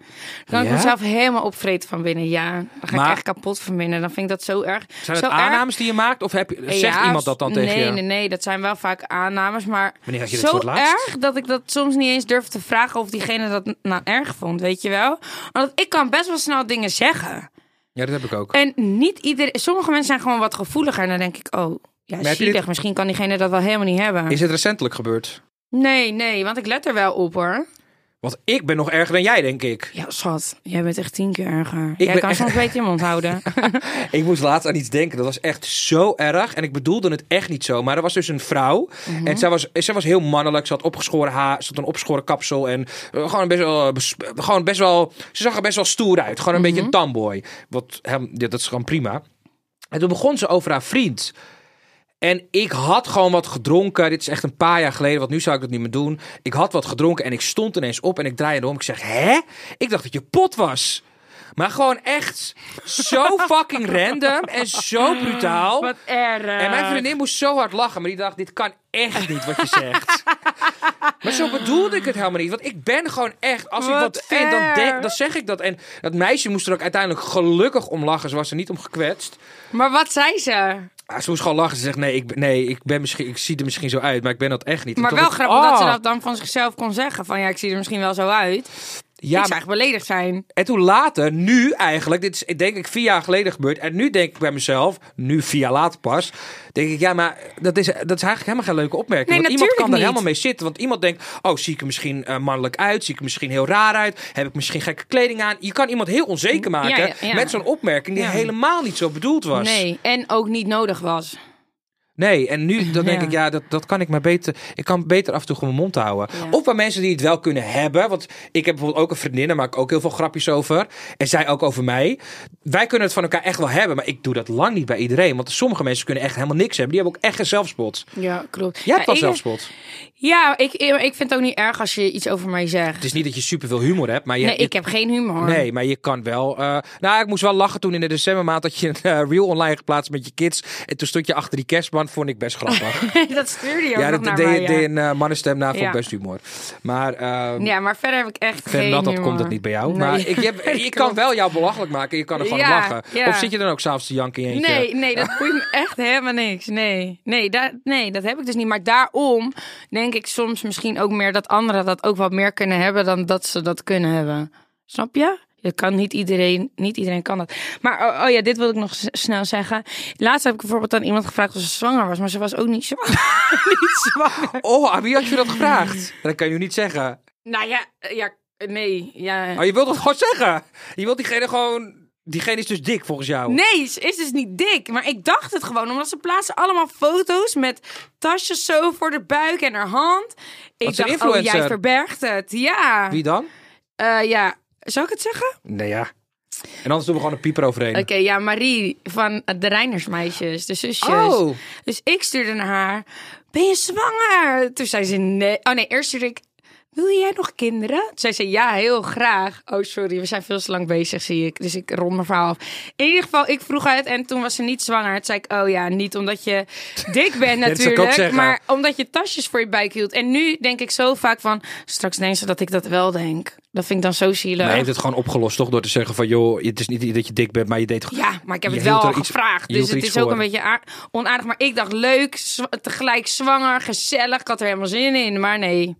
[SPEAKER 3] kan ik
[SPEAKER 4] Ja?
[SPEAKER 3] mezelf helemaal opvreten van binnen. Ja, dan ga
[SPEAKER 4] Maar-
[SPEAKER 3] ik echt kapot van binnen. Dan vind ik dat zo erg.
[SPEAKER 4] Zijn
[SPEAKER 3] zo
[SPEAKER 4] het
[SPEAKER 3] erg.
[SPEAKER 4] aannames die je maakt? Of heb, je-
[SPEAKER 3] Ja,
[SPEAKER 4] zegt iemand dat dan tegen
[SPEAKER 3] nee,
[SPEAKER 4] je?
[SPEAKER 3] Nee, nee, dat zijn wel vaak aannames. Maar
[SPEAKER 4] Wanneer had je dit
[SPEAKER 3] zo
[SPEAKER 4] voor het laatst?
[SPEAKER 3] erg dat ik dat soms niet eens durf te vragen of diegene dat nou erg vond, weet je wel? Want ik kan best wel snel dingen zeggen.
[SPEAKER 4] Ja, dat heb ik ook.
[SPEAKER 3] En niet iedereen. Sommige mensen zijn gewoon wat gevoeliger. En dan denk ik, oh, ja,
[SPEAKER 4] heb je
[SPEAKER 3] zielig.
[SPEAKER 4] dit-
[SPEAKER 3] Misschien kan diegene dat wel helemaal niet hebben.
[SPEAKER 4] Is het recentelijk gebeurd?
[SPEAKER 3] Nee, nee, want ik let er wel op hoor.
[SPEAKER 4] Want ik ben nog erger dan jij, denk ik.
[SPEAKER 3] Ja, schat, jij bent echt tien keer erger. jij
[SPEAKER 4] ben
[SPEAKER 3] kan
[SPEAKER 4] echt-
[SPEAKER 3] soms beter je mond houden.
[SPEAKER 4] Ik moest laatst aan iets denken. Dat was echt zo erg. En ik bedoelde het echt niet zo. Maar er was dus een vrouw. En zij was, zij was heel mannelijk. Ze had opgeschoren haar. Ze had een opgeschoren kapsel. En eh, gewoon, best wel, eh, besp- gewoon best wel... Ze zag er best wel stoer uit. Gewoon een beetje een tamboy. Wat, hem, dit- dat is gewoon prima. En toen begon ze over haar vriend. En ik had gewoon wat gedronken. Dit is echt een paar jaar geleden, want nu zou ik dat niet meer doen. Ik had wat gedronken en ik stond ineens op en ik draaide om. Ik zeg, hè? Ik dacht dat je pot was. Maar gewoon echt zo fucking random en zo brutaal.
[SPEAKER 3] Wat erg.
[SPEAKER 4] En mijn vriendin moest zo hard lachen, maar die dacht, dit kan echt niet wat je zegt. maar zo bedoelde ik het helemaal niet. Want ik ben gewoon echt, als ik
[SPEAKER 3] Wat
[SPEAKER 4] wat vind, dan, denk,
[SPEAKER 3] erg.
[SPEAKER 4] dan zeg ik dat. En dat meisje moest er ook uiteindelijk gelukkig om lachen. Ze was er niet om gekwetst.
[SPEAKER 3] Maar wat zei ze?
[SPEAKER 4] Ah, ze moest gewoon lachen. Ze zegt, nee, ik, ben- nee ik, ben misschien, ik zie er misschien zo uit, maar ik ben dat echt niet. En
[SPEAKER 3] Maar
[SPEAKER 4] toen
[SPEAKER 3] wel
[SPEAKER 4] dacht ik,
[SPEAKER 3] grappig dat ze
[SPEAKER 4] ah.
[SPEAKER 3] dat dan van zichzelf kon zeggen. Van ja, ik zie er misschien wel zo uit.
[SPEAKER 4] Ja,
[SPEAKER 3] ik
[SPEAKER 4] maar-
[SPEAKER 3] zou echt beledigd zijn.
[SPEAKER 4] en toen later, nu eigenlijk, dit is denk ik vier jaar geleden gebeurd. En nu denk ik bij mezelf, nu vier jaar later pas, denk ik, ja, maar dat is, dat is eigenlijk helemaal geen leuke opmerking.
[SPEAKER 3] Nee,
[SPEAKER 4] want iemand kan
[SPEAKER 3] natuurlijk
[SPEAKER 4] daar
[SPEAKER 3] niet.
[SPEAKER 4] helemaal mee zitten. Want iemand denkt, oh, zie ik er misschien eh, mannelijk uit? Zie ik er misschien heel raar uit? Heb ik misschien gekke kleding aan? Je kan iemand heel onzeker maken
[SPEAKER 3] ja, ja.
[SPEAKER 4] met zo'n opmerking die
[SPEAKER 3] Ja.
[SPEAKER 4] helemaal niet zo bedoeld was.
[SPEAKER 3] Nee, en ook niet nodig was.
[SPEAKER 4] Nee, en nu dan denk
[SPEAKER 3] Ja.
[SPEAKER 4] ik, ja, dat, dat kan ik maar beter. Ik kan beter af en toe gewoon mijn mond houden. Of bij mensen die het wel kunnen hebben. Want ik heb bijvoorbeeld ook een vriendin, daar maak ik ook heel veel grapjes over. En zij ook over mij. Wij kunnen het van elkaar echt wel hebben. Maar ik doe dat lang niet bij iedereen. Want sommige mensen kunnen echt helemaal niks hebben. Die hebben ook echt geen zelfspot.
[SPEAKER 3] Ja, klopt.
[SPEAKER 4] Jij hebt
[SPEAKER 3] ja,
[SPEAKER 4] wel
[SPEAKER 3] ik-
[SPEAKER 4] zelfspot.
[SPEAKER 3] Ja, ik, ik vind het ook niet erg als je iets over mij zegt.
[SPEAKER 4] Het is niet dat je superveel humor hebt. Maar je,
[SPEAKER 3] nee,
[SPEAKER 4] Dus- je-
[SPEAKER 3] ik heb geen humor.
[SPEAKER 4] Nee, maar je kan wel. eh, nou, ik moest wel lachen toen in de decembermaand dat je een eh, reel online geplaatst met je kids. En toen stond je achter die kerstman, vond ik best grappig.
[SPEAKER 3] dat stuurde je ook
[SPEAKER 4] ja,
[SPEAKER 3] nog
[SPEAKER 4] dat
[SPEAKER 3] naar
[SPEAKER 4] deed
[SPEAKER 3] mij,
[SPEAKER 4] je
[SPEAKER 3] ja.
[SPEAKER 4] deed een eh, mannenstem na, vond ik
[SPEAKER 3] Ja.
[SPEAKER 4] best humor. Maar ehm
[SPEAKER 3] Ja, maar verder heb ik echt geen
[SPEAKER 4] verder dan dat
[SPEAKER 3] humor.
[SPEAKER 4] komt dat niet bij jou.
[SPEAKER 3] Nee.
[SPEAKER 4] Maar ik, heb, ik kan wel jou belachelijk maken. Je kan er gewoon om
[SPEAKER 3] Ja,
[SPEAKER 4] lachen.
[SPEAKER 3] ja.
[SPEAKER 4] Of zit je dan ook s'avonds te janken in je eentje?
[SPEAKER 3] Nee, nee, dat boeit me echt helemaal niks. Nee, nee, dat, nee, dat heb ik dus niet. Maar daarom denk ik soms misschien ook meer dat anderen dat ook wat meer kunnen hebben dan dat ze dat kunnen hebben. Snap je? Je kan niet iedereen, niet iedereen kan dat. Maar oh, oh ja, dit wil ik nog s- snel zeggen. Laatst heb ik bijvoorbeeld aan iemand gevraagd of ze zwanger was, maar ze was ook niet zwanger. niet zwanger.
[SPEAKER 4] Oh, aan wie had je dat gevraagd? Dat kan je nu niet zeggen.
[SPEAKER 3] Nou ja, ja, nee, ja.
[SPEAKER 4] Oh, je wilt dat gewoon zeggen. Je wilt diegene gewoon... Diegene is dus dik volgens jou.
[SPEAKER 3] Nee, ze is dus niet dik. Maar ik dacht het gewoon, omdat ze plaatsen allemaal foto's met tasjes zo voor de buik en haar hand. Ik
[SPEAKER 4] Wat een
[SPEAKER 3] dacht, oh,
[SPEAKER 4] influencer.
[SPEAKER 3] jij verbergt het. Ja.
[SPEAKER 4] Wie dan?
[SPEAKER 3] Eh, ja. Zal ik het zeggen?
[SPEAKER 4] Nee, ja. En anders doen we gewoon een pieper overheen.
[SPEAKER 3] Oké, ja, Marie van eh, de Reinersmeisjes, de zusjes.
[SPEAKER 4] Oh.
[SPEAKER 3] Dus ik stuurde naar haar, ben je zwanger? Toen zei ze nee. Oh nee, eerst stuurde ik, wil jij nog kinderen? Toen zei ze, ja, heel graag. Oh, sorry, we zijn veel te lang bezig, zie ik. Dus ik rond mijn verhaal af. In ieder geval, ik vroeg uit en toen was ze niet zwanger. Toen zei ik, oh ja, niet omdat je dik bent
[SPEAKER 4] dat zou ik ook
[SPEAKER 3] natuurlijk,
[SPEAKER 4] zeggen.
[SPEAKER 3] maar omdat je tasjes voor je buik hield. En nu denk ik zo vaak van, straks denken ze dat ik dat wel denk. Dat vind ik dan zo zielig.
[SPEAKER 4] Maar hij heeft het gewoon opgelost, toch? Door te zeggen van, joh, het is niet dat je dik bent, maar je deed gewoon...
[SPEAKER 3] Ja, maar ik heb
[SPEAKER 4] Je
[SPEAKER 3] het
[SPEAKER 4] hield
[SPEAKER 3] wel
[SPEAKER 4] er
[SPEAKER 3] al
[SPEAKER 4] iets-
[SPEAKER 3] gevraagd.
[SPEAKER 4] je
[SPEAKER 3] Dus
[SPEAKER 4] hield er
[SPEAKER 3] het
[SPEAKER 4] iets
[SPEAKER 3] is ook
[SPEAKER 4] voor.
[SPEAKER 3] een beetje aar- onaardig. Maar ik dacht leuk, zwa- tegelijk zwanger, gezellig. Ik had er helemaal zin in, maar nee.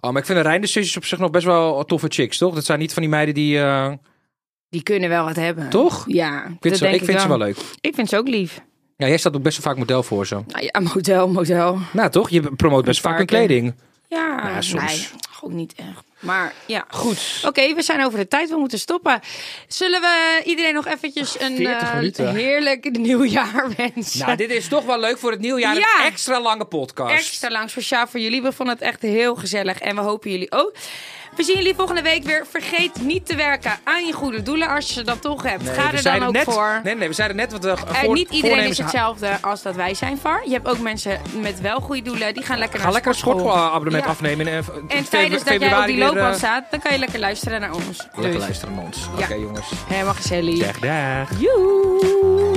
[SPEAKER 4] Oh, maar ik vind de Reinderszusjes op zich nog best wel toffe chicks, toch? Dat zijn niet van die meiden die... eh,
[SPEAKER 3] Die kunnen wel wat hebben.
[SPEAKER 4] Toch? Ik
[SPEAKER 3] Ja, ik
[SPEAKER 4] vind,
[SPEAKER 3] dat
[SPEAKER 4] ze,
[SPEAKER 3] denk
[SPEAKER 4] ik vind ze wel leuk.
[SPEAKER 3] Ik vind ze ook lief.
[SPEAKER 4] Ja, jij staat ook best wel vaak model voor ze.
[SPEAKER 3] Nou ja, model, model.
[SPEAKER 4] Nou, toch? Je promoot best vaak hun
[SPEAKER 3] paar keer.
[SPEAKER 4] kleding.
[SPEAKER 3] Ja,
[SPEAKER 4] Ja, soms.
[SPEAKER 3] nee, ook niet echt. Maar ja.
[SPEAKER 4] Goed.
[SPEAKER 3] Oké, we zijn over de tijd. We moeten stoppen. Zullen we iedereen nog eventjes een
[SPEAKER 4] 40
[SPEAKER 3] eh,
[SPEAKER 4] minuten.
[SPEAKER 3] heerlijk nieuwjaar wensen?
[SPEAKER 4] Nou, dit is toch wel leuk voor het nieuwjaar.
[SPEAKER 3] Ja.
[SPEAKER 4] Een extra lange podcast.
[SPEAKER 3] extra lang speciaal voor jullie. We vonden het echt heel gezellig en we hopen jullie ook. We zien jullie volgende week weer. Vergeet niet te werken aan je goede doelen als je ze dan toch hebt.
[SPEAKER 4] Nee, we
[SPEAKER 3] Ga er dan
[SPEAKER 4] zeiden
[SPEAKER 3] ook
[SPEAKER 4] net,
[SPEAKER 3] voor.
[SPEAKER 4] Nee, nee, we zeiden net wat we
[SPEAKER 3] Eh, niet iedereen is
[SPEAKER 4] hetzelfde.
[SPEAKER 3] hetzelfde als dat wij zijn, Var. Je hebt ook mensen met wel goede doelen. Die gaan lekker
[SPEAKER 4] Ga
[SPEAKER 3] naar
[SPEAKER 4] lekker een sportabonnement
[SPEAKER 3] Ja.
[SPEAKER 4] afnemen. En, eh,
[SPEAKER 3] En
[SPEAKER 4] febru-
[SPEAKER 3] tijdens dat jij op die
[SPEAKER 4] weer, eh,
[SPEAKER 3] loopbaan staat, dan kan je lekker luisteren naar ons.
[SPEAKER 4] Lekker
[SPEAKER 3] Dus,
[SPEAKER 4] luisteren naar ons. Oké,
[SPEAKER 3] Ja.
[SPEAKER 4] jongens.
[SPEAKER 3] helemaal gezellig.
[SPEAKER 4] Dag, dag.
[SPEAKER 3] Joe.